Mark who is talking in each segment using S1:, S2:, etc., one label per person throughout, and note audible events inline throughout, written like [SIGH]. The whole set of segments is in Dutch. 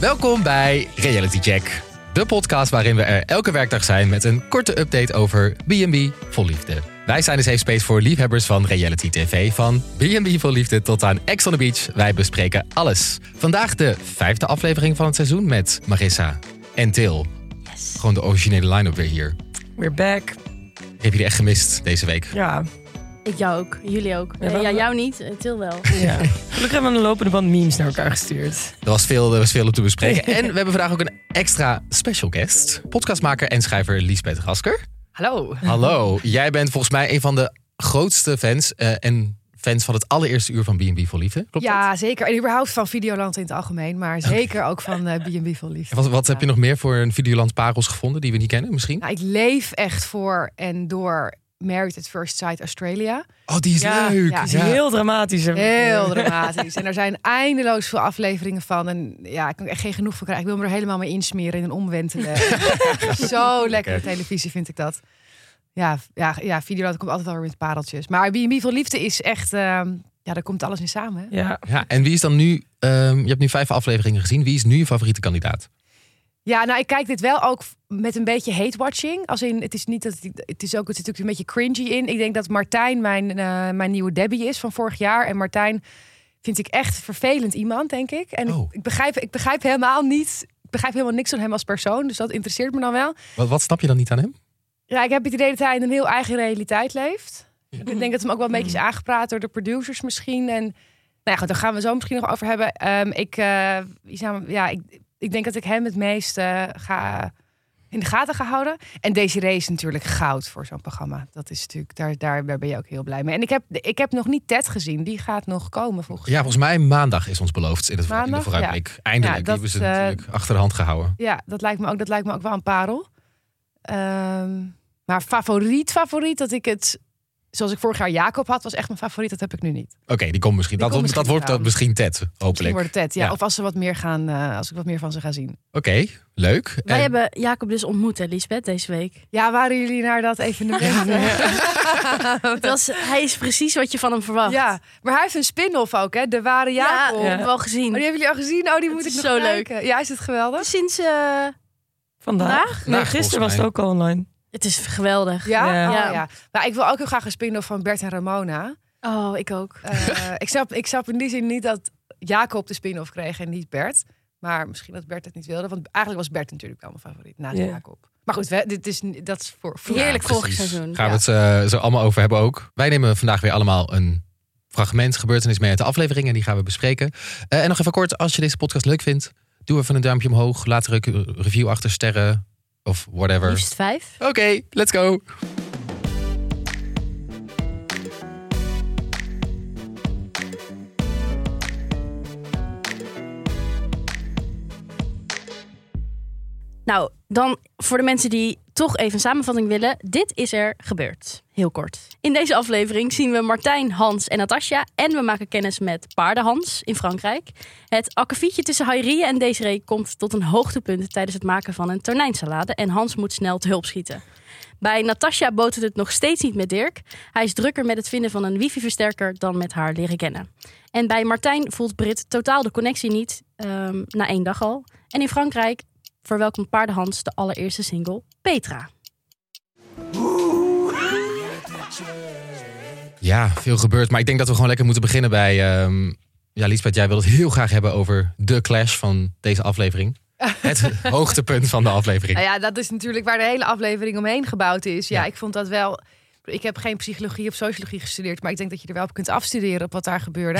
S1: Welkom bij Reality Check, de podcast waarin we er elke werkdag zijn met een korte update over B&B Vol Liefde. Wij zijn de safe space voor liefhebbers van reality tv, van B&B Vol Liefde tot aan Ex on the Beach. Wij bespreken alles. Vandaag de vijfde aflevering van het seizoen met Marissa en Til. Gewoon de originele line-up weer hier.
S2: We're back.
S1: Die Heb je echt gemist deze week?
S2: Ja.
S3: Ik jou ook, jullie ook.
S2: Ja,
S3: Ja,
S2: wel-
S3: ja jou niet, eh, Til wel.
S2: ja. Gelukkig hebben we een lopende band memes naar elkaar gestuurd.
S1: Er was veel, er was veel op te bespreken. En we hebben vandaag ook een extra special guest. Podcastmaker en schrijver Liesbeth Rasker.
S4: Hallo.
S1: Hallo, jij bent volgens mij een van de grootste fans eh, en fans van het allereerste uur van B&B voor Liefde. Klopt dat?
S4: ja, zeker. En überhaupt van Videoland in het algemeen, maar zeker ook van eh, B&B Vol Liefde.
S1: En Wat, wat heb je nog meer voor een Videoland parels gevonden die we niet kennen misschien?
S4: Nou, ik leef echt voor en door Married at First Sight Australia.
S1: Oh, die is
S2: Ja,
S1: leuk.
S4: ja,
S2: Het is heel dramatisch. hè?
S4: Heel dramatisch. En er zijn eindeloos veel afleveringen van. En ja, ik kan er echt geen genoeg van krijgen. Ik wil me er helemaal mee insmeren in een omwentelen. Zo lekkere televisie vind ik dat. Ja, ja, ja Videoland komt altijd wel weer met pareltjes. Maar B&B Vol Liefde is echt... ehm, ja, daar komt alles in samen. hè?
S2: Ja.
S1: Ja, en wie is dan nu, ehm, je hebt nu vijf afleveringen gezien, wie is nu je favoriete kandidaat?
S4: Ja, nou, ik kijk dit wel ook f- met een beetje hate-watching. Als in, het is niet dat ik- het is ook, het zit natuurlijk een beetje cringy in. Ik denk dat Martijn mijn, eh, mijn nieuwe Debbie is van vorig jaar. En Martijn vind ik echt een vervelend iemand, denk ik. En ik-
S1: Oh.
S4: ik, begrijp, ik begrijp helemaal niet, ik begrijp helemaal niks van hem als persoon. Dus dat interesseert me dan wel.
S1: Wat, wat snap je dan niet aan hem?
S4: Ja, ik heb het idee dat hij in een heel eigen realiteit leeft. Ik denk dat hem ook wel een beetje is aangepraat door de producers misschien. En nou ja, goed, daar gaan we zo misschien nog over hebben. Ehm, ik, eh, wie zijn we- ja, ik, ik denk dat ik hem het meest eh, ga in de gaten ga houden. En deze race is natuurlijk goud voor zo'n programma. Dat is natuurlijk, daar, daar, daar ben je ook heel blij mee. En ik heb, ik heb nog niet Ted gezien. Die gaat nog komen volgens
S1: Ja, volgens mij maandag is ons beloofd in, het, in de
S4: Maandag?
S1: vooruitblik. Eindelijk, die
S4: Ja, dat,
S1: hebben ze
S4: eh,
S1: natuurlijk achter de hand gehouden.
S4: Ja, dat lijkt me ook, dat lijkt me ook wel een parel. Ehm, maar favoriet, favoriet, dat ik het... Zoals ik vorig jaar Jacob had, was echt mijn favoriet. Dat heb ik nu niet.
S1: Oké, die komt misschien.
S4: Die
S1: dat wordt- dat
S4: komt misschien
S1: wordt dat
S4: aan.
S1: misschien Ted,
S4: Misschien
S1: hopelijk.
S4: wordt
S1: Oké,
S4: het Ted, ja.
S1: Ja.
S4: Of als, ze wat meer gaan, eh, als ik wat meer van ze ga zien.
S1: leuk.
S3: Wij
S1: En-
S3: hebben Jacob dus ontmoet, hè, Lisbeth, deze week.
S4: Ja, waren jullie naar dat evenement? Ja, [LAUGHS]
S3: Het was, hij is precies wat je van hem verwacht.
S4: ja. maar hij heeft een spin-off ook, hè? De ware
S3: ja,
S4: Jacob.
S3: ik heb wel gezien.
S4: Oh, die hebben jullie al gezien? Oh, die moet
S3: Het
S4: ik
S3: is
S4: nog
S3: zo
S4: kijken. Ja, is het geweldig?
S3: Sinds eh,
S2: Vandaag?
S3: vandaag?
S2: Nee,
S1: Vandaag,
S2: gisteren was
S1: volgens
S2: het ook al online.
S3: Het is geweldig.
S4: Ja?
S2: Ja.
S4: Oh,
S3: Ja.
S4: ja. Maar ik wil ook heel graag een spin-off van Bert en Ramona.
S3: Oh, ik ook.
S4: Eh, ik, snap, ik snap in die zin niet dat Jacob de spin-off kreeg en niet Bert. Maar misschien dat Bert het niet wilde. Want eigenlijk was Bert natuurlijk wel mijn favoriet naast
S2: Ja.
S4: Jacob. Maar goed, we- dit is, n- dat is voor, voor
S3: Heerlijk
S1: precies.
S3: vorig seizoen,
S1: Gaan we het eh, zo allemaal over hebben ook. Wij nemen vandaag weer allemaal een fragment, gebeurtenis mee uit de aflevering. En die gaan we bespreken. Eh, en nog even kort, als je deze podcast leuk vindt, doe even een duimpje omhoog. Laat er ook een review achter sterren of whatever.
S3: Liefst vijf.
S1: Oké, let's go.
S3: Nou, dan voor de mensen die toch even een samenvatting willen. Dit is er gebeurd. Heel kort. In deze aflevering zien we Martijn, Hans en Natasja. En we maken kennis met paardenhans in Frankrijk. Het akkefietje tussen Hayrie en Desiree komt tot een hoogtepunt tijdens het maken van een tonijnsalade. En Hans moet snel te hulp schieten. Bij Natasja botert het nog steeds niet met Dirk. Hij is drukker met het vinden van een wifi-versterker dan met haar leren kennen. En bij Martijn voelt Brit totaal de connectie niet, ehm, na één dag al. En in Frankrijk verwelkomt Paardenhans de allereerste single Petra.
S1: Ja, veel gebeurt. Maar ik denk dat we gewoon lekker moeten beginnen bij... ehm, ja, Liesbeth, jij wil het heel graag hebben over de clash van deze
S3: [LAUGHS]
S1: aflevering. Het hoogtepunt van de aflevering.
S4: Nou ja, dat is natuurlijk waar de hele aflevering omheen gebouwd is. Ja,
S1: Ja.
S4: ik vond dat wel. Ik heb geen psychologie of sociologie gestudeerd, maar ik denk dat je er wel op kunt afstuderen op wat daar gebeurde.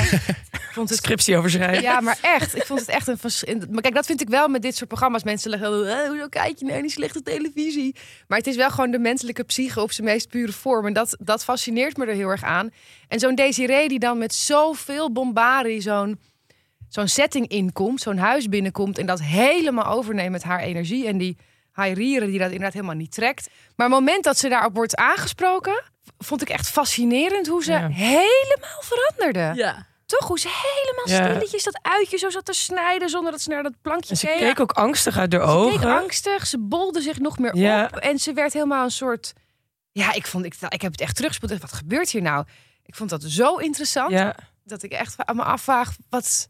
S4: ik vond het
S2: Scriptie overschrijven.
S4: Ja, maar echt. Ik vond het echt een. vers- Maar kijk, dat vind ik wel met dit soort programma's. Mensen zeggen, "Eh, hoezo kijk je naar die slechte televisie? Maar het is wel gewoon de menselijke psyche op zijn meest pure vorm. En dat, dat fascineert me er heel erg aan. En zo'n Desiree die dan met zoveel bombarie zo'n zo'n setting inkomt, zo'n huis binnenkomt en dat helemaal overneemt met haar energie en die hairieren die dat inderdaad helemaal niet trekt. Maar het moment dat ze daarop wordt aangesproken, vond ik echt fascinerend hoe ze
S2: Ja.
S4: helemaal veranderde.
S3: Ja.
S4: Toch? Hoe ze helemaal
S2: Ja.
S4: stilletjes dat uitje zo zat te snijden zonder dat ze naar dat plankje
S2: En ze
S4: keek.
S2: keek ook angstig uit haar
S4: Ze keek
S2: ogen.
S4: angstig, ze bolde zich nog meer
S2: Ja.
S4: op en ze werd helemaal een soort... Ja, ik, vond, ik, ik heb het echt teruggespoeld. Ik dacht, Wat gebeurt hier nou? Ik vond dat zo interessant
S2: Ja.
S4: dat ik echt aan me afvraag wat...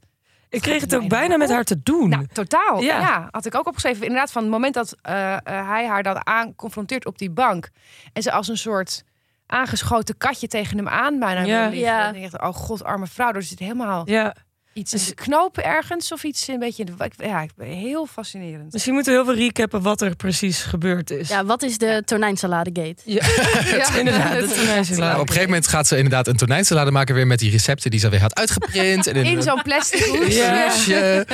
S2: Ik kreeg het ook bijna met haar te doen.
S4: Nou, totaal.
S2: Ja.
S4: Ja. had ik ook opgeschreven. Inderdaad, van het moment dat eh, eh, hij haar dan aan confronteert op die bank. En ze als een soort aangeschoten katje tegen hem aan bijna
S2: Ja.
S4: wil liggen.
S3: Ja.
S4: En ik dacht, oh god, arme vrouw. Er zit helemaal
S2: ja.
S4: iets in
S2: Dus-
S4: de knoop ergens. Of iets een beetje in de... ik- Ja, ik ben heel fascinerend.
S2: Misschien moeten we heel veel recappen wat er precies gebeurd is.
S3: Ja, wat is de tonijnsalade-gate?
S4: [LAUGHS] ja,
S2: inderdaad, dat is een meisje
S1: Nou,
S2: later.
S1: op een gegeven moment gaat ze inderdaad een tonijnsalade maken weer met die recepten die ze weer had uitgeprint. En
S4: In
S1: een
S4: zo'n [LAUGHS] plastic hoes.
S2: Ja.
S1: hoesje.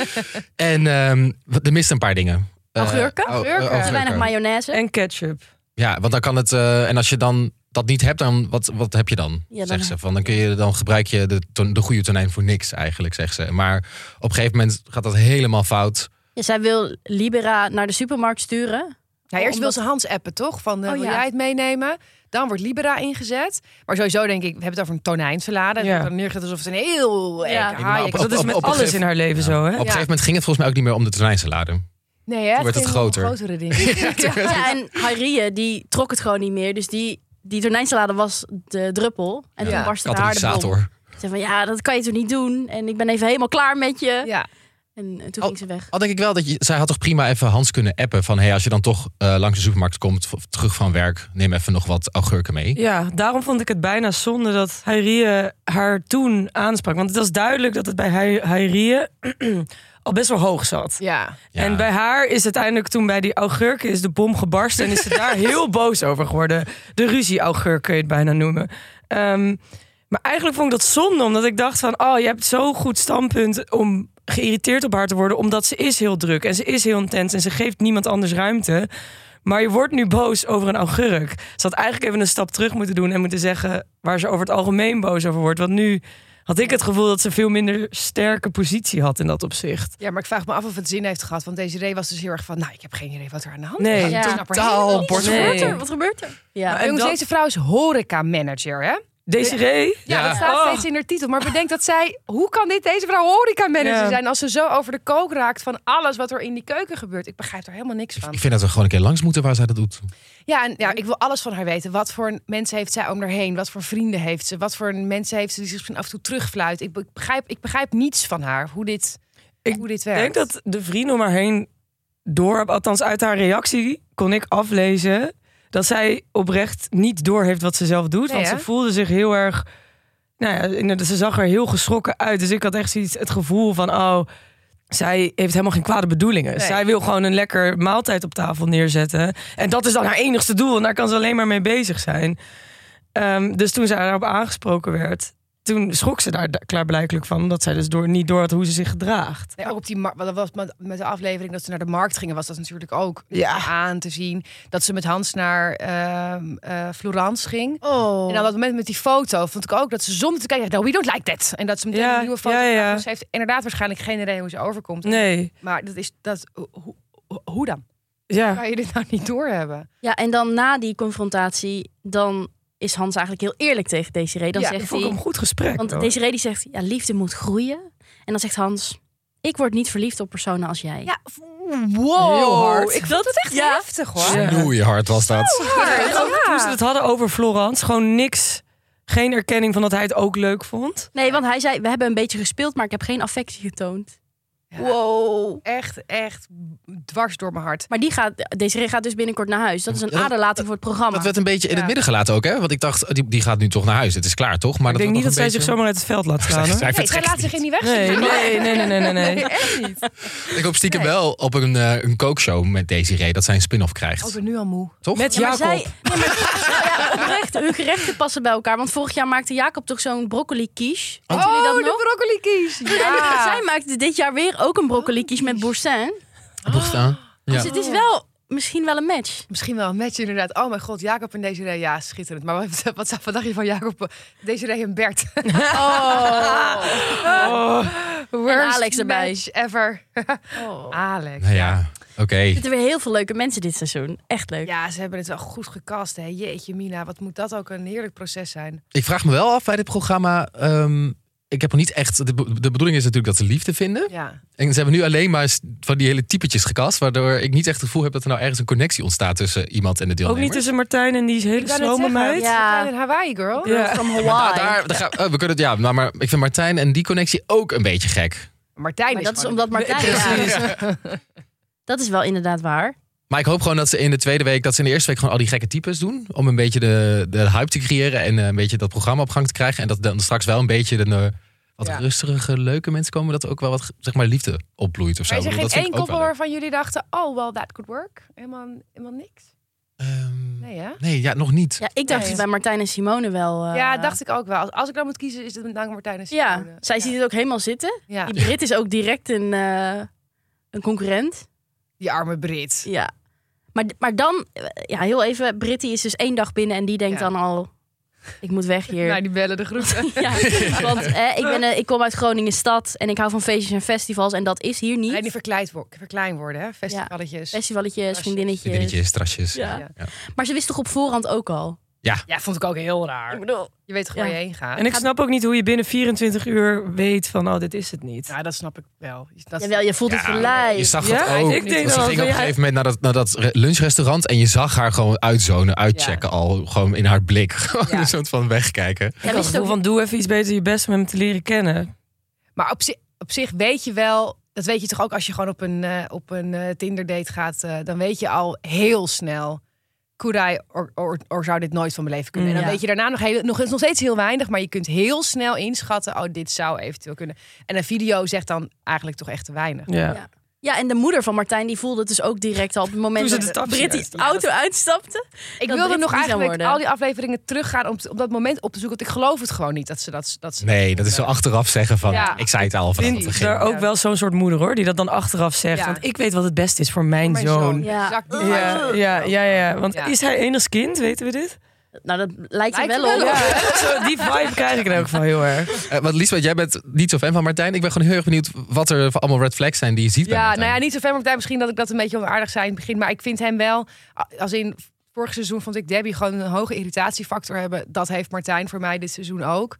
S1: En ehm, wat- er mist een paar dingen. Eh,
S3: Augurken?
S1: oh, eh,
S4: Augurken.
S1: augurken.
S3: Te weinig mayonaise.
S2: En ketchup.
S1: Ja, want dan kan het. eh, en als je dan dat niet hebt, dan wat, wat heb je dan?
S3: Ja, dan-
S1: zegt ze. Van, dan, kun je, dan gebruik je de, ton- de goede tonijn voor niks eigenlijk, zegt ze. Maar op een gegeven moment gaat dat helemaal fout.
S3: Ja, zij wil Libera naar de supermarkt sturen.
S4: Ja, eerst wil
S3: Omdat-
S4: ze Hans appen, toch? Van, eh,
S3: Oh,
S4: wil
S3: ja.
S4: jij het meenemen? Dan wordt Libera ingezet. Maar sowieso denk ik, we hebben het over een tonijnsalade.
S2: Ja.
S4: Ja. Dan neergezet alsof het een heel
S3: Ja.
S4: ja.
S1: Nee, maar op-
S2: Dat is
S1: op-
S2: met
S1: op een
S2: alles
S1: gegeven-
S2: in haar leven zo,
S1: Op
S2: hè?
S1: een gegeven moment ging het volgens mij ook niet meer om de tonijnsalade.
S4: Nee, hè?
S1: Toen werd het
S4: ging om
S1: groter.
S4: grotere
S1: [LAUGHS]
S4: dingen. Ja.
S3: Ja, en Harrie, die trok het gewoon niet meer. Dus die, die tonijnsalade was de druppel. En
S4: Ja.
S3: toen barstte haar de bom.
S1: Katalysator.
S3: Ze zei van, ja, dat kan je toch niet doen? En ik ben even helemaal klaar met je.
S4: Ja.
S3: En eh, toen
S1: Oh.
S3: ging ze weg.
S1: Al denk ik wel dat je, zij had toch prima even Hans kunnen appen van hey, als je dan toch eh, langs de supermarkt komt of terug van werk, neem even nog wat augurken mee.
S2: Ja, daarom vond ik het bijna zonde dat Hairie haar toen aansprak. Want het was duidelijk dat het bij Hairie [CLEARS THROAT] al best wel hoog zat.
S4: ja.
S1: Ja.
S2: En bij haar is uiteindelijk toen bij die augurken is de bom gebarsten en is ze daar heel boos over geworden. De ruzie augurk kun je het bijna noemen. Ehm, maar eigenlijk vond ik dat zonde, omdat ik dacht van, oh, je hebt zo'n goed standpunt om geïrriteerd op haar te worden, omdat ze is heel druk en ze is heel intens en ze geeft niemand anders ruimte. Maar je wordt nu boos over een augurk. Ze had eigenlijk even een stap terug moeten doen en moeten zeggen waar ze over het algemeen boos over wordt. Want nu had ik het gevoel dat ze een veel minder sterke positie had in dat opzicht.
S4: ja, maar ik vraag me af of het zin heeft gehad. Want Desiree was dus heel erg van, nou, ik heb geen idee wat er aan de hand is.
S2: Nee.
S4: Ik
S3: Ja.
S4: snap er
S1: Totaal
S4: helemaal niks
S1: bord-
S4: van.
S2: Nee.
S3: Wat gebeurt er? Wat gebeurt er? Ja.
S2: en
S4: Jongens,
S2: dat-
S4: deze vrouw is horeca-manager, hè?
S2: Desiree?
S4: Ja,
S1: Ja.
S4: dat staat
S2: Oh.
S4: steeds in haar titel. Maar bedenk dat zij... Hoe kan dit deze vrouw horeca-manager
S2: Ja.
S4: zijn... als ze zo over de kook raakt van alles wat er in die keuken gebeurt? Ik begrijp er helemaal niks
S1: Ik-
S4: van.
S1: Ik vind dat we gewoon een keer langs moeten waar zij dat doet.
S4: Ja, en ja, ik wil alles van haar weten. Wat voor mensen heeft zij om haar heen? Wat voor vrienden heeft ze? Wat voor mensen heeft ze die zich misschien af en toe terugfluit? Ik, be- ik begrijp, ik begrijp niets van haar, hoe dit,
S2: Ik
S4: hoe dit
S2: Ik denk
S4: werkt.
S2: dat de vrienden om haar heen door, althans uit haar reactie, kon ik aflezen dat zij oprecht niet door heeft wat ze zelf doet.
S4: Nee,
S2: want ze
S4: hè?
S2: voelde zich heel erg. Nou ja, inderdaad, ze zag er heel geschrokken uit. Dus ik had echt zoiets, het gevoel van: oh, zij heeft helemaal geen kwade bedoelingen.
S4: Nee.
S2: Zij wil gewoon een lekker maaltijd op tafel neerzetten. En dat is dan haar enigste doel. En daar kan ze alleen maar mee bezig zijn. Ehm, dus toen zij daarop aangesproken werd, toen schrok ze daar klaarblijkelijk van. Omdat zij dus door, niet door had hoe ze zich gedraagt.
S4: Nee, ook op die mar- dat was met, met de aflevering dat ze naar de markt gingen, was dat natuurlijk ook
S2: Ja.
S4: aan te zien. Dat ze met Hans naar ehm, eh, Florence ging.
S3: Oh.
S4: En aan dat moment met die foto vond ik ook dat ze zonder te kijken, nou, we don't like that. En dat ze meteen
S2: Ja,
S4: een nieuwe foto
S2: ja, ja.
S4: maakte. Dus Ze heeft inderdaad waarschijnlijk geen idee hoe ze overkomt.
S2: Nee,
S4: Maar dat is dat. ho- ho- ho- hoe dan?
S2: ja.
S4: Kan je dit nou niet doorhebben?
S3: Ja, en dan na die confrontatie, dan is Hans eigenlijk heel eerlijk tegen Desiree. Dan
S4: Ja,
S2: Ik
S3: zegt
S2: vond
S3: hij,
S2: het een goed gesprek.
S3: want
S2: hoor.
S3: Desiree die zegt, ja, liefde moet groeien. En dan zegt Hans, ik word niet verliefd op personen als jij.
S4: Ja, f- wow.
S2: Heel hard.
S4: Ik vond het echt
S3: Ja.
S4: heftig hoor.
S2: Ja.
S1: Snoeihard hard was dat.
S2: En ook toen ze het hadden over Florence, gewoon niks. Geen erkenning van dat hij het ook leuk vond.
S3: Nee, want hij zei, we hebben een beetje gespeeld, maar ik heb geen affectie getoond.
S4: Ja.
S3: Wow.
S4: Echt, echt dwars door mijn hart.
S3: Maar die gaat, Desiree gaat dus binnenkort naar huis. Dat is een
S1: Ja, dat-
S3: aderlating voor het programma.
S1: Dat werd een beetje in het
S4: Ja.
S1: midden gelaten ook, hè? Want ik dacht, oh, die, die gaat nu toch naar huis. Het is klaar, toch? Maar
S2: ik denk
S1: dat
S2: niet
S1: wordt
S2: dat zij
S1: nog
S2: zich
S1: een
S2: zomaar uit het veld laat
S1: beetje-
S2: gaan. hoor.
S1: [LAUGHS] Zij
S4: Nee, zij
S1: vertrekt
S4: laat zich
S1: niet.
S4: in die weg
S2: Nee,
S4: zitten.
S2: nee, nee, nee, nee, nee.
S4: [LAUGHS]
S2: nee.
S4: echt niet.
S1: Ik hoop stiekem wel op een, eh, een kookshow met Desiree dat zij een spin-off krijgt.
S4: Oh, ik ben nu al moe.
S1: toch?
S2: Met
S3: Ja, maar
S2: Jacob.
S3: zij, nee, maar, ja, oprecht, hun gerechten passen bij elkaar. Want vorig jaar maakte Jacob toch zo'n broccoli quiche.
S1: Oh,
S3: Weten jullie dat nog?
S4: broccoli kies.
S3: En zij maakte dit jaar weer ook een broccoli quiche met boursin.
S1: Bocht staan.
S2: Oh,
S1: Ja.
S3: Dus het is wel misschien wel een match.
S4: Misschien wel een match inderdaad. Oh mijn god, Jacob en Desiree. Ja, schitterend. Maar wat, wat, wat dacht je van Jacob, Desiree en Bert? [LAUGHS]
S3: [LAUGHS] Oh.
S2: Oh,
S4: Worst
S3: Alex erbij.
S4: match ever. Oh. Alex.
S1: Nou ja, oké.
S3: Er zitten weer heel veel leuke mensen dit seizoen. Echt leuk.
S4: Ja, ze hebben het wel goed gecast. Hè. Jeetje Mina, wat moet dat ook een heerlijk proces zijn.
S1: Ik vraag me wel af bij dit programma. ehm, ik heb nog niet echt. De, be- de bedoeling is natuurlijk dat ze liefde vinden.
S4: Ja.
S1: En ze hebben nu alleen maar s- van die hele typetjes gekast. Waardoor ik niet echt het gevoel heb dat er nou ergens een connectie ontstaat tussen iemand en de
S2: ook
S1: deelnemer.
S2: niet tussen Martijn en die hele slome meid.
S3: ja.
S4: Een Hawaii girl.
S2: Ja.
S3: From
S1: Maar nou,
S3: Hawaii.
S1: daar, daar gaan- oh, we kunnen het, ja, maar, maar ik vind Martijn en die connectie ook een beetje gek.
S4: Martijn
S3: Maar
S4: is
S3: dat is
S4: gewoon-
S3: omdat Martijn...
S2: Precies.
S3: ja, dat is wel inderdaad waar.
S1: Maar ik hoop gewoon dat ze in de tweede week, dat ze in de eerste week gewoon al die gekke types doen. Om een beetje de, de hype te creëren en eh, een beetje dat programma op gang te krijgen. En dat dan straks wel een beetje de eh, wat
S4: Ja.
S1: rustige, leuke mensen komen. Dat er ook wel wat, zeg maar, liefde opbloeit of zo.
S4: Maar is er
S1: Ik
S4: geen
S1: bedoel, dat
S4: één
S1: vind ik ook
S4: koppel
S1: wel leuk.
S4: waarvan jullie dachten, oh, well, that could work? Helemaal, helemaal niks?
S1: Ehm,
S4: Nee, hè?
S1: nee, ja, nog niet.
S3: Ja, ik dacht
S4: Nee.
S3: het bij Martijn en Simone wel... eh,
S4: ja, dacht ik ook wel. Als, als ik dan moet kiezen, is het met dank Martijn en
S3: Ja,
S4: Simone.
S3: zij ziet het ook helemaal zitten.
S4: Ja.
S3: Die Brit is ook direct een, eh, een concurrent.
S4: Die arme Brit.
S3: Ja. Maar, maar dan, eh, ja, heel even. Britty is dus één dag binnen en die denkt
S4: Ja.
S3: dan al: ik moet weg hier.
S4: Nou, die bellen de [LAUGHS] groeten.
S3: [LAUGHS] Ja, want eh, ik, ben, eh, ik kom uit Groningen stad en ik hou van feestjes en festivals. En dat is hier niet.
S4: Nee, die verkleid wo- verklein worden, hè? Festivaletjes. Ja.
S3: Festivalletjes,
S4: Trasjes.
S3: vriendinnetjes.
S1: Vriendinnetjes, trasjes.
S3: Ja.
S4: Ja.
S3: Maar ze wist toch op voorhand ook al?
S4: vond ik ook heel raar.
S3: Ik bedoel,
S4: Je weet toch waar
S3: Ja.
S4: je heen gaat?
S2: En ik snap ook niet hoe je binnen 24 uur weet van, oh, dit is het niet.
S4: Ja, dat snap ik wel. Dat
S3: jawel, je voelt het
S1: Ja,
S3: gelijk.
S1: Je zag
S2: Ja,
S1: dat ook.
S2: ik denk
S1: Want ze
S2: wel,
S1: ging op
S2: ja.
S1: een gegeven moment naar dat, naar dat re- lunchrestaurant en je zag haar gewoon uitzonen, uitchecken al. Gewoon in haar blik. [LAUGHS] Gewoon
S4: Ja.
S1: een soort van wegkijken.
S2: Ik
S3: ja,
S2: had het
S3: wist
S2: gevoel
S3: ook,
S2: van, doe even iets beter je best om hem te leren kennen.
S4: Maar op, zi- op zich weet je wel, dat weet je toch ook als je gewoon op een, eh, op een eh Tinder date gaat, eh, dan weet je al heel snel. Could I or, or- or zou dit nooit van mijn leven kunnen?
S2: Mm,
S4: en dan
S3: ja.
S4: weet je daarna nog, heel, nog, is nog steeds heel weinig, maar je kunt heel snel inschatten, oh, dit zou eventueel kunnen. En een video zegt dan eigenlijk toch echt te weinig.
S2: Ja.
S3: Ja. Ja, en de moeder van Martijn die voelde het dus ook direct al op het moment
S2: Toen ze de
S3: dat
S2: taxi
S3: Britty
S2: uitstapte.
S3: auto uitstapte.
S4: Ik
S3: Dat
S4: wilde
S3: Brit
S4: nog
S3: het niet zou
S4: eigenlijk
S3: worden.
S4: al die afleveringen teruggaan om, te- op dat moment op te zoeken, want ik geloof het gewoon niet dat ze dat... dat ze
S1: Nee, dat is zo achteraf zeggen van,
S4: Ja.
S1: ik zei het al vanaf het
S2: Vind
S1: begin.
S2: daar ook wel zo'n soort moeder hoor, die dat dan achteraf zegt.
S4: Ja.
S2: Want ik weet wat het beste is voor mijn,
S4: Mijn
S2: zoon.
S4: zoon.
S3: Ja.
S4: Zak niet
S2: Ja,
S4: uit.
S2: ja, ja, ja. Want
S4: Ja.
S2: is hij enig kind, weten we dit? [LAUGHS]
S3: Nou, dat lijkt er
S4: Lijkt
S3: wel
S4: er
S3: op.
S4: wel
S3: Ja.
S2: Zo, die vibe krijg ik in elk geval heel erg.
S1: Eh, want Liesbeth, jij bent niet zo fan van Martijn. Ik ben gewoon heel erg benieuwd wat er voor allemaal red flags zijn die je ziet bij
S4: Ja,
S1: Martijn.
S4: nou ja, niet zo ver Martijn. Misschien dat ik dat een beetje onaardig zei in het begin. Maar ik vind hem wel, a- als in vorig seizoen vond ik Debbie gewoon een hoge irritatiefactor hebben. Dat heeft Martijn voor mij dit seizoen ook.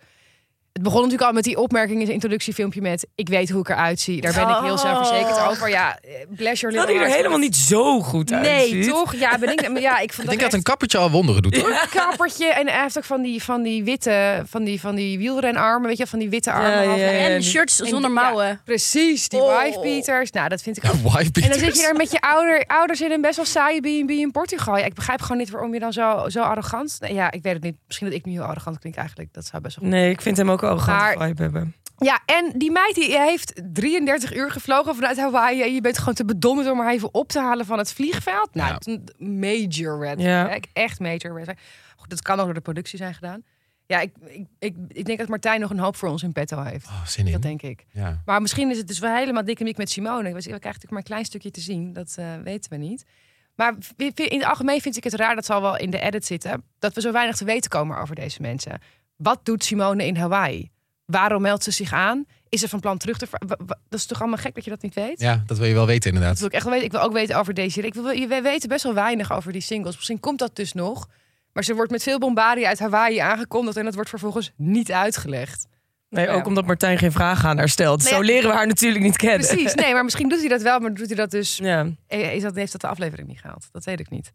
S4: Het begon natuurlijk al met die opmerking in zijn introductiefilmpje met... ik weet hoe ik eruit zie. Daar ben ik heel
S3: Oh.
S4: zelfverzekerd over. Ja, eh, bless your
S2: Dat
S4: little
S2: hij er
S4: heart.
S2: helemaal niet zo goed uitziet.
S4: Nee, toch? Ja, ben ik, ja ik
S2: [LAUGHS]
S4: vond
S1: ik denk
S4: dat
S1: dat een kappertje al wonderen doet. hoor. [LAUGHS]
S4: een kappertje. En hij heeft ook van die, van die witte, van die, van die wielrenarmen. Weet je, van die witte armen.
S2: Ja,
S4: half-
S2: ja, ja.
S3: En shirts
S4: En-
S3: zonder
S4: ja.
S3: mouwen.
S4: [LAUGHS] Precies, die
S3: Oh.
S4: wife beaters. Nou, dat vind ik ook
S1: Why
S4: en dan zit
S1: Peters?
S4: je daar met je ouder, ouders in een best wel saaie B&B in Portugal. Ja, ik begrijp gewoon niet waarom je dan zo, zo arrogant... Nou ja, ik weet het niet. Misschien dat ik nu heel arrogant klink eigenlijk. Dat zou best wel goed
S2: Nee, ik vind hem ook een arrogante
S4: Maar-
S2: vibe hebben.
S4: Ja, en die meid die heeft 33 uur gevlogen vanuit Hawaii. En je bent gewoon te bedommen om haar even op te halen van het vliegveld. Nou,
S1: Ja.
S4: het is een major red
S2: Ja.
S4: flag. Echt major red flag. Goed, dat kan ook door de productie zijn gedaan. Ja, ik, ik, ik, ik denk dat Martijn nog een hoop voor ons in petto heeft.
S1: Oh, zin
S4: Dat
S1: in.
S4: denk ik.
S1: Ja.
S4: Maar misschien is het dus wel helemaal dikke mik met Simone. Ik was- ik krijg natuurlijk maar een klein stukje te zien. Dat eh, weten we niet. Maar v- v- in het algemeen vind ik het raar, dat zal wel in de edit zitten... dat we zo weinig te weten komen over deze mensen. Wat doet Simone in Hawaii? Waarom meldt ze zich aan? Is ze van plan terug te... ver- wa- wa- Dat is toch allemaal gek dat je dat niet weet?
S1: ja, dat wil je wel weten
S4: Dat
S1: inderdaad.
S4: wil ik echt wel weten. Ik wil ook weten over deze... Ik wil, je- we weten best wel weinig over die singles. Misschien komt dat dus nog. Maar ze wordt met veel bombarie uit Hawaii aangekondigd... en dat wordt vervolgens niet uitgelegd.
S2: Nee,
S4: Ja.
S2: ook omdat Martijn geen vragen aan haar stelt.
S4: Nee,
S2: Zo
S4: ja.
S2: leren we haar natuurlijk niet kennen.
S4: Precies, nee, maar misschien doet hij dat wel... maar doet hij dat dus
S2: Ja.
S4: Eh, Is dat, heeft dat de aflevering niet gehaald? Dat weet ik niet.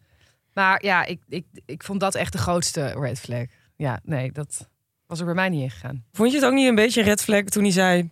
S4: Maar ja, ik, ik, ik vond dat echt de grootste red flag. Ja, nee, dat was er bij mij niet in gegaan.
S2: Vond je het ook niet een beetje een red flag toen hij zei...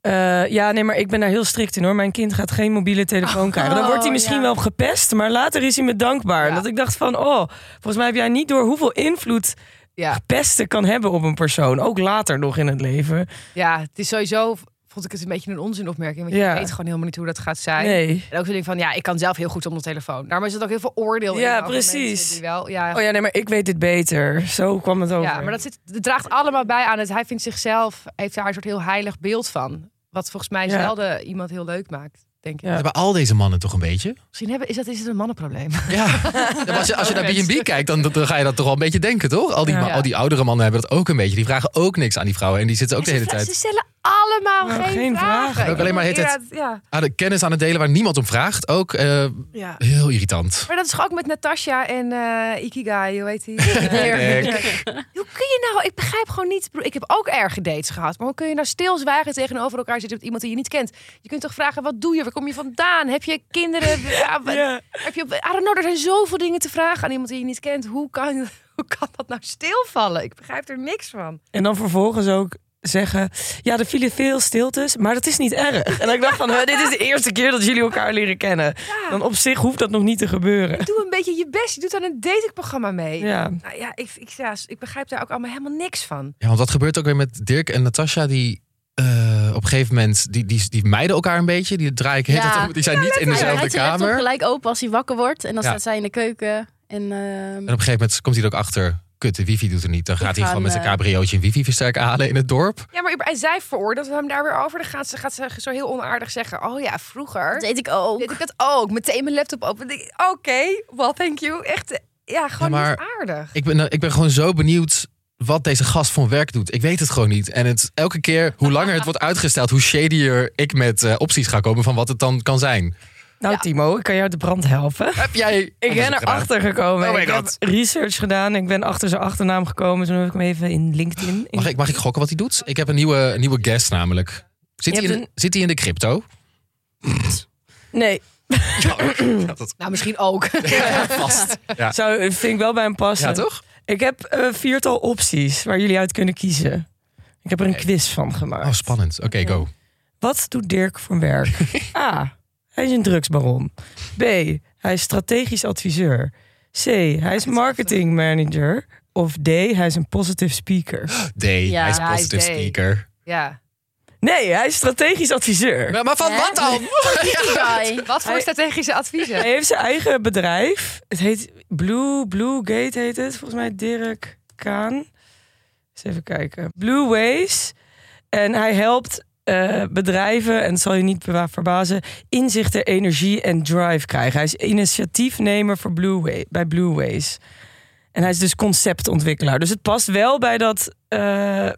S2: eh, ja, nee, maar ik ben daar heel strikt in hoor. Mijn kind gaat geen mobiele telefoon
S4: Oh,
S2: krijgen. Dan wordt hij misschien
S3: ja.
S2: wel gepest, maar later is hij me dankbaar.
S4: Ja.
S2: Dat ik dacht van, oh, volgens mij heb jij niet door hoeveel invloed
S4: Ja,
S2: pesten kan hebben op een persoon. Ook later nog in het leven.
S4: ja het is sowieso, vond ik het een beetje een onzinopmerking. Want
S2: Ja.
S4: je weet gewoon helemaal niet hoe dat gaat zijn.
S2: Nee.
S4: En ook zo'n ding van, ja, ik kan zelf heel goed om de telefoon. Daarom is het ook heel veel oordeel in
S2: Ja,
S4: over mensen
S2: precies.
S4: Die wel, ja,
S2: Oh ja, nee, maar ik weet dit beter. Zo kwam het over.
S4: ja, maar dat, zit, dat draagt allemaal bij aan het... Hij vindt zichzelf, heeft daar een soort heel heilig beeld van. Wat volgens mij
S2: Ja.
S4: zelden iemand heel leuk maakt, denk ik.
S2: Ja.
S1: Hebben al deze mannen toch een beetje?
S4: Misschien hebben, is, dat, is het een mannenprobleem.
S1: Ja. maar als je, als je naar B&B kijkt, dan, dan ga je dat toch wel een beetje denken, toch? Al die,
S2: Ja.
S1: ma- al die oudere mannen hebben dat ook een beetje. Die vragen ook niks aan die vrouwen. En die zitten ook de hele
S4: ze,
S1: tijd
S4: stellen allemaal
S2: Ja,
S4: Nou, geen,
S2: geen
S4: vragen.
S2: vragen.
S4: Ik
S1: Ook alleen maar
S4: bedoel,
S1: de hele tijd-
S4: inderdaad,
S1: aan de kennis aan het delen waar niemand om vraagt. Ook eh,
S4: Ja. ja.
S1: heel irritant.
S4: Maar dat is toch ook met Natasha en eh, Ikigai, hoe
S1: [LAUGHS]
S4: heet die? Eh, hoe kun je nou, ik begrijp gewoon niet. ik bedoel, Ik heb ook erge dates gehad. Maar hoe kun je nou stilzwijgen tegenover elkaar zitten met iemand die je niet kent? Je kunt toch vragen, wat doe je? Waar kom je vandaan? Heb je [LAUGHS] kinderen? Ja, wat-
S2: Ja.
S4: heb je, I don't know, er zijn zoveel dingen te vragen aan iemand die je niet [LAUGHS] kent. Hoe kan, hoe kan dat nou stilvallen? Ik begrijp er niks van.
S2: En dan vervolgens ook zeggen... Ja, er vielen veel stiltes, maar dat is niet
S4: [LAUGHS]
S2: erg. En dat ik dacht van, hè, dit is de eerste keer dat jullie elkaar leren kennen. Dan op zich hoeft dat nog niet te gebeuren.
S4: Doe een beetje je best. Je doet aan een datingprogramma mee.
S2: Ja.
S4: Nou ja, ik, ik, ja, ik begrijp daar ook allemaal helemaal niks van.
S1: Ja, want dat gebeurt ook weer met Dirk en Natasha. Die eh, op een gegeven moment, die, die, die mijden elkaar een beetje. Die draaien ik heel
S3: Ja.
S1: tijd om. Die zijn niet in
S3: Hij
S1: dezelfde
S3: rijdt zijn laptop
S1: kamer.
S3: gelijk open als hij wakker wordt. En dan
S1: Ja.
S3: staat zij in de keuken. En, ehm,
S1: En op een gegeven moment komt hij er ook achter. Kut, de wifi doet er niet. Dan gaat hij
S3: ga
S1: gewoon met
S3: hem,
S1: zijn
S3: eh,
S1: cabriootje een wifi-versterker halen in het dorp.
S4: Ja, maar en zij veroordeelt hem daar weer over. Dan gaat ze, gaat ze zo heel onaardig zeggen. Oh ja, vroeger.
S3: dat eet ik ook.
S4: Deed ik dat ook. Meteen mijn laptop open. Ik- Oké, well, thank you. Echt, eh, ja, gewoon
S1: Ja,
S4: niet aardig.
S1: Ik ben, ik ben gewoon zo benieuwd wat deze gast van werk doet. Ik weet het gewoon niet. En het, elke keer, hoe langer het wordt uitgesteld... hoe shadier ik met eh, opties ga komen van wat het dan kan zijn.
S2: Nou Timo, ik kan jou uit de brand helpen.
S1: Heb jij... Oh,
S2: Ik
S1: onderzoek
S2: ben
S1: gedaan?
S2: erachter gekomen.
S1: Oh my
S2: ik
S1: God.
S2: heb research gedaan. Ik ben achter zijn achternaam gekomen. Toen heb ik hem even in LinkedIn. in-
S1: Mag ik, mag ik gokken wat hij doet? Ik heb een nieuwe, een nieuwe guest namelijk. Zit
S2: Je
S1: hij, in,
S2: hebt
S1: zit hij in de crypto?
S2: Nee,
S1: Ja, dat
S4: Nou, misschien ook.
S1: vast. Ja,
S2: zou, vind ik wel bij hem passen.
S1: ja toch?
S2: Ik heb eh, viertal opties waar jullie uit kunnen kiezen. Ik heb er een quiz van gemaakt.
S1: Oh, spannend. Oké, go.
S2: Wat doet Dirk voor
S1: [LAUGHS]
S2: werk? A. Hij is een drugsbaron. B. Hij is strategisch adviseur. C. Hij is marketing manager. Of D. Hij is een positive speaker.
S1: D, hij is
S3: Ja,
S4: hij is
S1: positive
S4: D.
S1: speaker.
S4: [LAUGHS] Ja.
S2: Nee, hij is strategisch adviseur.
S1: Ja, maar van
S3: Hè?
S1: wat dan?
S3: Guy.
S4: [LAUGHS] Wat voor
S2: Hij-
S4: strategische adviezen?
S2: Hij heeft zijn eigen bedrijf. Het heet Blue, Blue Gate heet het. Volgens mij Dirk Kaan. Eens even kijken. Blue Ways. En hij helpt eh, bedrijven, en dat zal je niet bewa- verbazen, inzichten, energie en drive krijgen. Hij is initiatiefnemer voor Blue Way, bij Blue Ways. En hij is dus conceptontwikkelaar. Dus het past wel bij dat eh,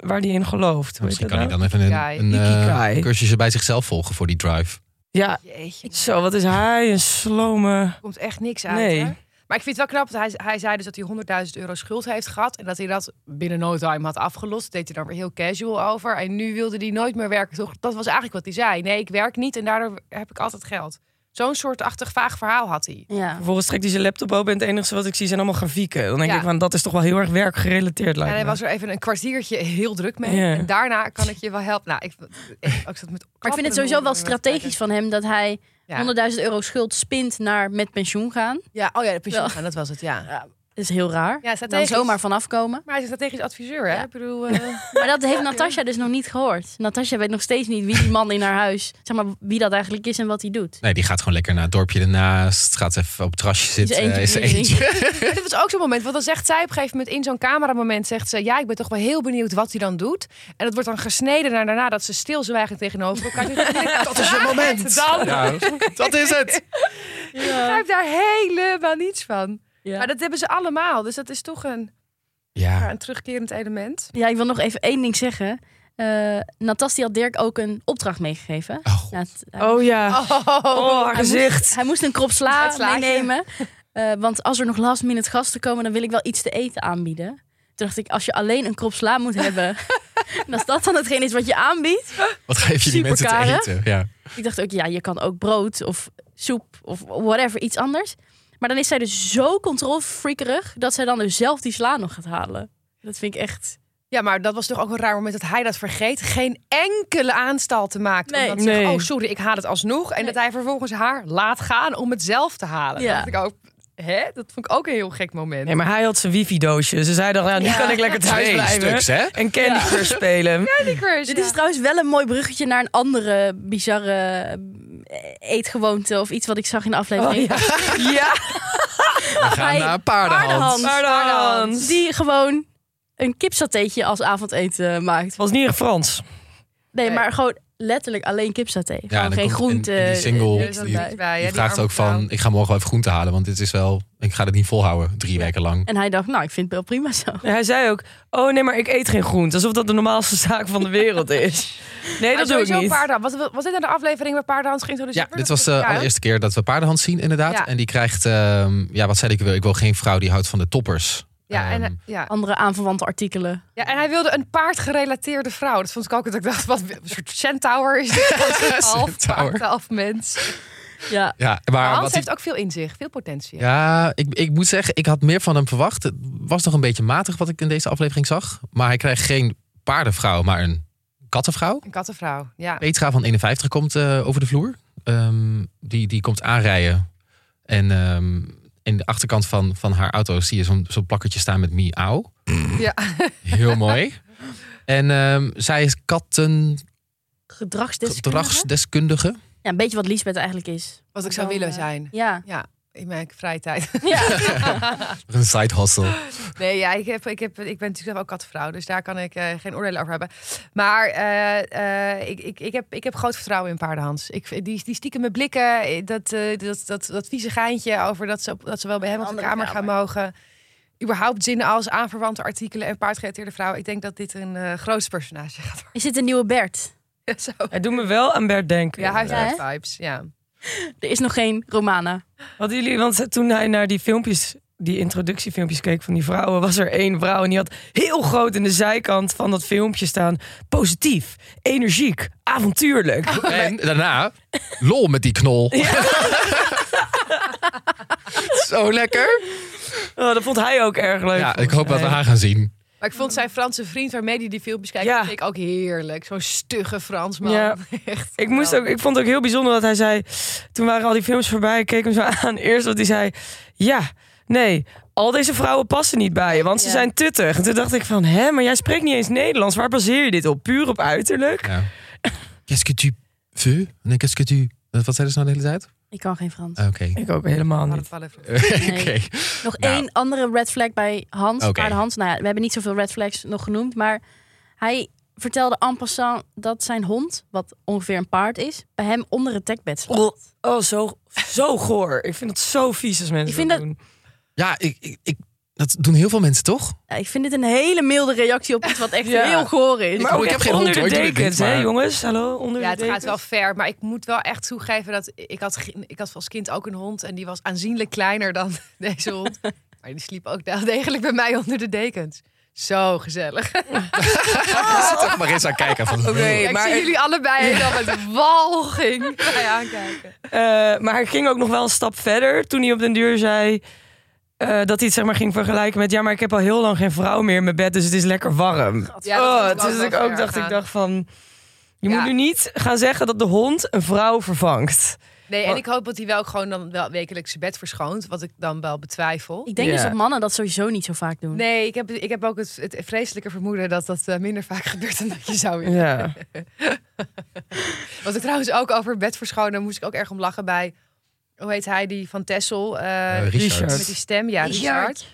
S2: waar hij in gelooft. Hoe heet
S1: Misschien
S2: dat
S1: kan hij
S2: nou?
S1: dan even
S4: Guy.
S1: een, een eh,
S2: Ikigai.
S1: cursusje bij zichzelf volgen voor die drive.
S2: Ja,
S4: Jeetje, er
S2: zo, wat is hij? Een slome...
S4: komt echt niks uit.
S2: Nee.
S4: hè? Maar ik vind het wel knap, want hij, hij zei dus dat hij 100.000 euro schuld heeft gehad. En dat hij dat binnen no time had afgelost. Deed hij daar weer heel casual over. En nu wilde hij nooit meer werken. Toch? Dat was eigenlijk wat hij zei. Nee, ik werk niet en daardoor heb ik altijd geld. Zo'n soort achtig vaag verhaal had hij.
S3: Ja.
S2: Vervolgens trekt hij zijn laptop open en het enige wat ik zie zijn allemaal grafieken. Dan denk
S4: Ja.
S2: ik van, dat is toch wel heel erg werkgerelateerd lijkt
S4: En hij
S2: me.
S4: was er even een kwartiertje [LAUGHS] heel druk mee.
S2: Ja.
S4: En daarna kan ik je wel helpen. Nou, ik, ik, ik zat met
S3: Maar ik vind het sowieso wel strategisch van hem dat hij
S4: Ja.
S3: 100.000 euro schuld spint naar met pensioen gaan.
S4: Ja, oh ja, de pensioen
S3: Wel.
S4: gaan, dat was het, ja.
S3: Dat is heel raar.
S4: Ja,
S3: Dan
S4: strategisch.
S3: zomaar vanaf komen.
S4: Maar hij is een strategisch adviseur, hè?
S3: Ja.
S4: Ik bedoel, eh,
S3: Maar dat heeft Natasja dus nog niet gehoord. Natasja weet nog steeds niet wie die man in haar huis, zeg maar, wie dat eigenlijk is en wat hij doet.
S1: Nee, die gaat gewoon lekker naar het dorpje ernaast. Gaat even op het terrasje zitten.
S3: eentje
S1: eh, Is er [LAUGHS]
S3: bier
S1: eentje.
S4: Maar dit was ook zo'n moment. Want dan zegt zij op een gegeven moment in zo'n cameramoment... zegt ze, ja, ik ben toch wel heel benieuwd wat hij dan doet. En dat wordt dan gesneden naar daarna dat ze stilzwijgend tegenover elkaar zitten. dat is je moment. Dan
S1: Ja, dat is het.
S4: begrijp daar helemaal niets van.
S3: Ja.
S4: Maar dat hebben ze allemaal. Dus dat is toch een, ja,
S1: Ja,
S4: een terugkerend element.
S3: [LAUGHS] Ja, ik wil nog even één ding zeggen. Eh Natas die had Dirk ook een opdracht meegegeven.
S1: oh,
S3: Nou, het- hij,
S2: Oh ja,
S4: Oh.
S2: oh haar
S3: hij moest-
S2: gezicht.
S3: hij moest een krop
S4: Het
S3: sla
S4: slaatje.
S3: meenemen. Eh, want als er nog last minute gasten komen, dan wil ik wel iets te eten aanbieden. Toen dacht ik, als je alleen een krop sla moet hebben... [LAUGHS] en als dat dan hetgeen is wat je aanbiedt...
S1: wat geef je die mensen te
S3: Superkaren.
S1: eten? Ja.
S3: Ik dacht ook, ja, je kan ook brood of soep of whatever, iets anders. Maar dan is zij dus zo controlfreakerig dat zij dan dus zelf die sla nog gaat halen. Dat vind ik echt...
S4: Ja, maar dat was toch ook een raar moment dat hij dat vergeet. Geen enkele aanstal te maken.
S3: Nee.
S4: Omdat ze zegt,
S2: Nee.
S4: oh sorry, ik haal het alsnog. En
S3: Nee.
S4: dat hij vervolgens haar laat gaan om het zelf te halen.
S3: Ja.
S4: Dat, ik ook, hè? dat vond ik ook een heel gek moment.
S2: Nee, maar hij had zijn wifi-doosje. Ze zei dan, ja, nu
S3: Ja.
S2: kan ik lekker thuis
S1: Twee
S2: blijven.
S1: stuks, hè?
S2: En Candy Crush spelen.
S3: Dit is trouwens wel een mooi bruggetje naar een andere bizarre eh, eetgewoonte of iets wat ik zag in de
S2: Oh,
S3: aflevering.
S2: ja. ja,
S1: We gaan
S3: Hij-
S1: naar paardenhand.
S3: Paardenhand.
S2: Paardenhand.
S3: Die gewoon een kipsatéetje als avondeten maakt.
S2: was niet in Frans.
S3: Nee,
S4: Nee.
S3: maar gewoon letterlijk alleen kipsaté.
S1: en
S3: gewoon
S1: dan
S3: geen
S1: komt- en- en
S3: groente. eh,
S1: die single,
S3: niks
S1: die-
S3: erbij.
S1: Je vraagt ook van, ik ga morgen wel even groente halen. Want dit is wel, ik ga dit niet volhouden. Drie weken lang.
S3: En hij dacht, nou, ik vind het wel prima zo.
S2: En hij zei ook, oh nee, maar ik eet geen groente. Alsof dat de normaalste [LAUGHS] zaak van de wereld is. Nee, dat doe ik niet.
S4: Was, was dit aan de aflevering waar Paardenhand geïntroduceerd
S1: Ja,
S4: werd?
S1: dit was eh, de
S4: Ja, hè?
S1: allereerste keer dat we paardenhand zien inderdaad.
S4: Ja.
S1: En die krijgt, ehm, ja wat zei ik, ik wil, ik wil geen vrouw die houdt van de toppers.
S4: Ja
S1: Ehm,
S4: en, eh, ja.
S3: Andere aanverwante artikelen.
S4: ja, en hij wilde een paardgerelateerde vrouw. Dat vond ik ook. dat Ik dacht, wat een soort centaur is
S1: [LAUGHS]
S4: dit? half
S1: Centaur.
S4: paard, half mens.
S3: Ja,
S1: ja,
S4: Maar
S1: maar
S4: Hans
S1: wat die-
S4: heeft ook veel inzicht, veel potentie.
S1: Ja, ik, ik moet zeggen, ik had meer van hem verwacht. Het was nog een beetje matig wat ik in deze aflevering zag. Maar hij krijgt geen paardenvrouw, maar een kattenvrouw.
S4: Een kattenvrouw. Ja.
S1: Petra van 51 komt eh, over de vloer. Ehm, die, die komt aanrijden. En ehm, in de achterkant van, van haar auto zie je zo'n zo'n plakkertje staan met miauw.
S4: Ja.
S1: Heel mooi. En ehm, zij is katten-
S3: Gedragsdeskundige.
S1: gedragsdeskundige.
S3: Ja, een beetje wat Liesbeth eigenlijk is.
S4: Wat ik zou
S3: Dan,
S4: willen
S3: eh,
S4: zijn.
S3: Ja.
S4: In mijn vrije tijd.
S3: ja.
S4: [LAUGHS]
S1: [LAUGHS] Een side hustle.
S4: Nee, ja, ik, heb, ik, heb, ik ben natuurlijk zelf ook katvrouw, dus daar kan ik eh, geen oordelen over hebben. Maar eh, eh, ik, ik, ik, heb, ik heb groot vertrouwen in paardenhans. Ik, die, die stiekeme blikken, eh, dat, eh, dat, dat, dat vieze geintje over dat ze, op- dat ze wel bij hem op de
S3: Andere
S4: kamer,
S3: kamer.
S4: gaan mogen. Überhaupt zinnen als aanverwante artikelen en paardgerelateerde vrouwen. Ik denk dat dit een eh groot personage gaat
S3: Is dit een nieuwe Bert?
S4: worden. [LAUGHS] Zo.
S2: Het doet me wel aan Bert denken.
S4: Ja, hij
S3: Ja,
S4: heeft echt vibes. Ja.
S3: Er is nog geen Romana.
S2: Hadden jullie, want toen hij naar die filmpjes, die introductiefilmpjes keek van die vrouwen, was er één vrouw en die had heel groot in de zijkant van dat filmpje staan: positief, energiek, avontuurlijk.
S1: En daarna, lol met die knol. [LAUGHS] Zo lekker.
S2: Oh, dat vond hij ook erg leuk.
S1: Ja, ik
S2: volgens
S1: hoop dat we
S2: mij.
S1: haar gaan zien.
S4: Maar ik vond zijn Franse vriend waarmee hij die filmpjes kijkt,
S2: Ja.
S4: vind ik ook heerlijk. Zo'n stugge Fransman.
S2: Ja.
S4: [LAUGHS] Echt. Nou,
S2: Ik, moest ook, ik vond het ook heel bijzonder dat hij zei. Toen waren al die films voorbij. Ik keek hem zo aan. [LAUGHS] Eerst wat hij zei. Ja, nee. Al deze vrouwen passen niet bij je, want ze
S3: Ja.
S2: zijn tuttig. En toen dacht ik van, hè, maar jij spreekt niet eens Nederlands. Waar baseer je dit op? Puur op uiterlijk?
S1: Ja. Qu'est-ce que tu veux? Nee, qu'est-ce que tu... Wat zeiden ze nou de hele tijd? Ah,
S3: Ik kan geen Frans.
S1: Oké.
S2: Ik ook helemaal
S4: Had
S2: niet.
S4: het wel
S1: [LAUGHS]
S4: even-
S1: Oké.
S3: Nog
S1: Nou.
S3: één andere red flag bij Hans.
S1: Oké.
S3: Paarden Hans. Nou ja, we hebben niet zoveel red flags nog genoemd. Maar hij vertelde en passant dat zijn hond, wat ongeveer een paard is, bij hem onder het dekbed slaapt.
S2: Oh, oh, zo, zo goor. Ik vind dat zo vies als mensen
S3: Ik vind
S2: dat
S3: dat-
S2: doen.
S1: Ja, ik, ik, ik- dat doen heel veel mensen toch?
S3: Ja, Eh, ik vind dit een hele milde reactie op iets wat echt
S2: Ja.
S3: heel goor is.
S1: Maar- Oh, ik heb
S2: echt
S1: geen hond,
S2: onder de
S1: hoor. Ik doe dit
S2: dekens,
S1: niet,
S2: hè
S1: maar-
S2: jongens? Hallo, onder
S4: Ja,
S2: de
S4: het
S2: dekens.
S4: gaat wel ver. Maar ik moet wel echt toegeven dat ik had, ge- ik had als kind ook een hond. En die was aanzienlijk kleiner dan [LAUGHS] deze
S2: [LAUGHS]
S4: hond. Maar die sliep ook wel degelijk bij mij onder de dekens. Zo gezellig.
S1: Zit ook maar eens aan kijken. Van,
S4: Ja, ik zie jullie allebei helemaal met
S2: [LAUGHS]
S4: walging. Ga je aankijken.
S2: Eh, maar hij ging ook nog wel een stap verder toen hij op den duur zei eh, dat hij het zeg maar ging vergelijken met ja, maar ik heb al heel lang geen vrouw meer in mijn bed, dus het is lekker warm.
S4: Ja, dat
S2: oh,
S4: vond ik
S2: dus
S4: wel
S2: ik ook
S4: ver
S2: dacht, ik
S4: gaan.
S2: dacht van je
S4: Ja.
S2: moet nu niet gaan zeggen dat de hond een vrouw vervangt.
S4: Nee, en ik hoop dat hij wel ook gewoon dan wel wekelijks zijn bed verschoont. Wat ik dan wel betwijfel.
S3: Ik denk
S2: Ja.
S3: dus dat mannen dat sowieso niet zo vaak doen.
S4: Nee, ik heb, ik heb ook het, het vreselijke vermoeden dat dat eh, minder vaak [LAUGHS] gebeurt dan dat je zou willen.
S2: Ja.
S4: Wat ik trouwens ook over bed verschonen, moest ik ook erg om lachen bij. Hoe heet hij die van Tessel?
S1: Eh,
S4: eh,
S1: Richard.
S2: Richard.
S4: Met die stem, ja, Richard.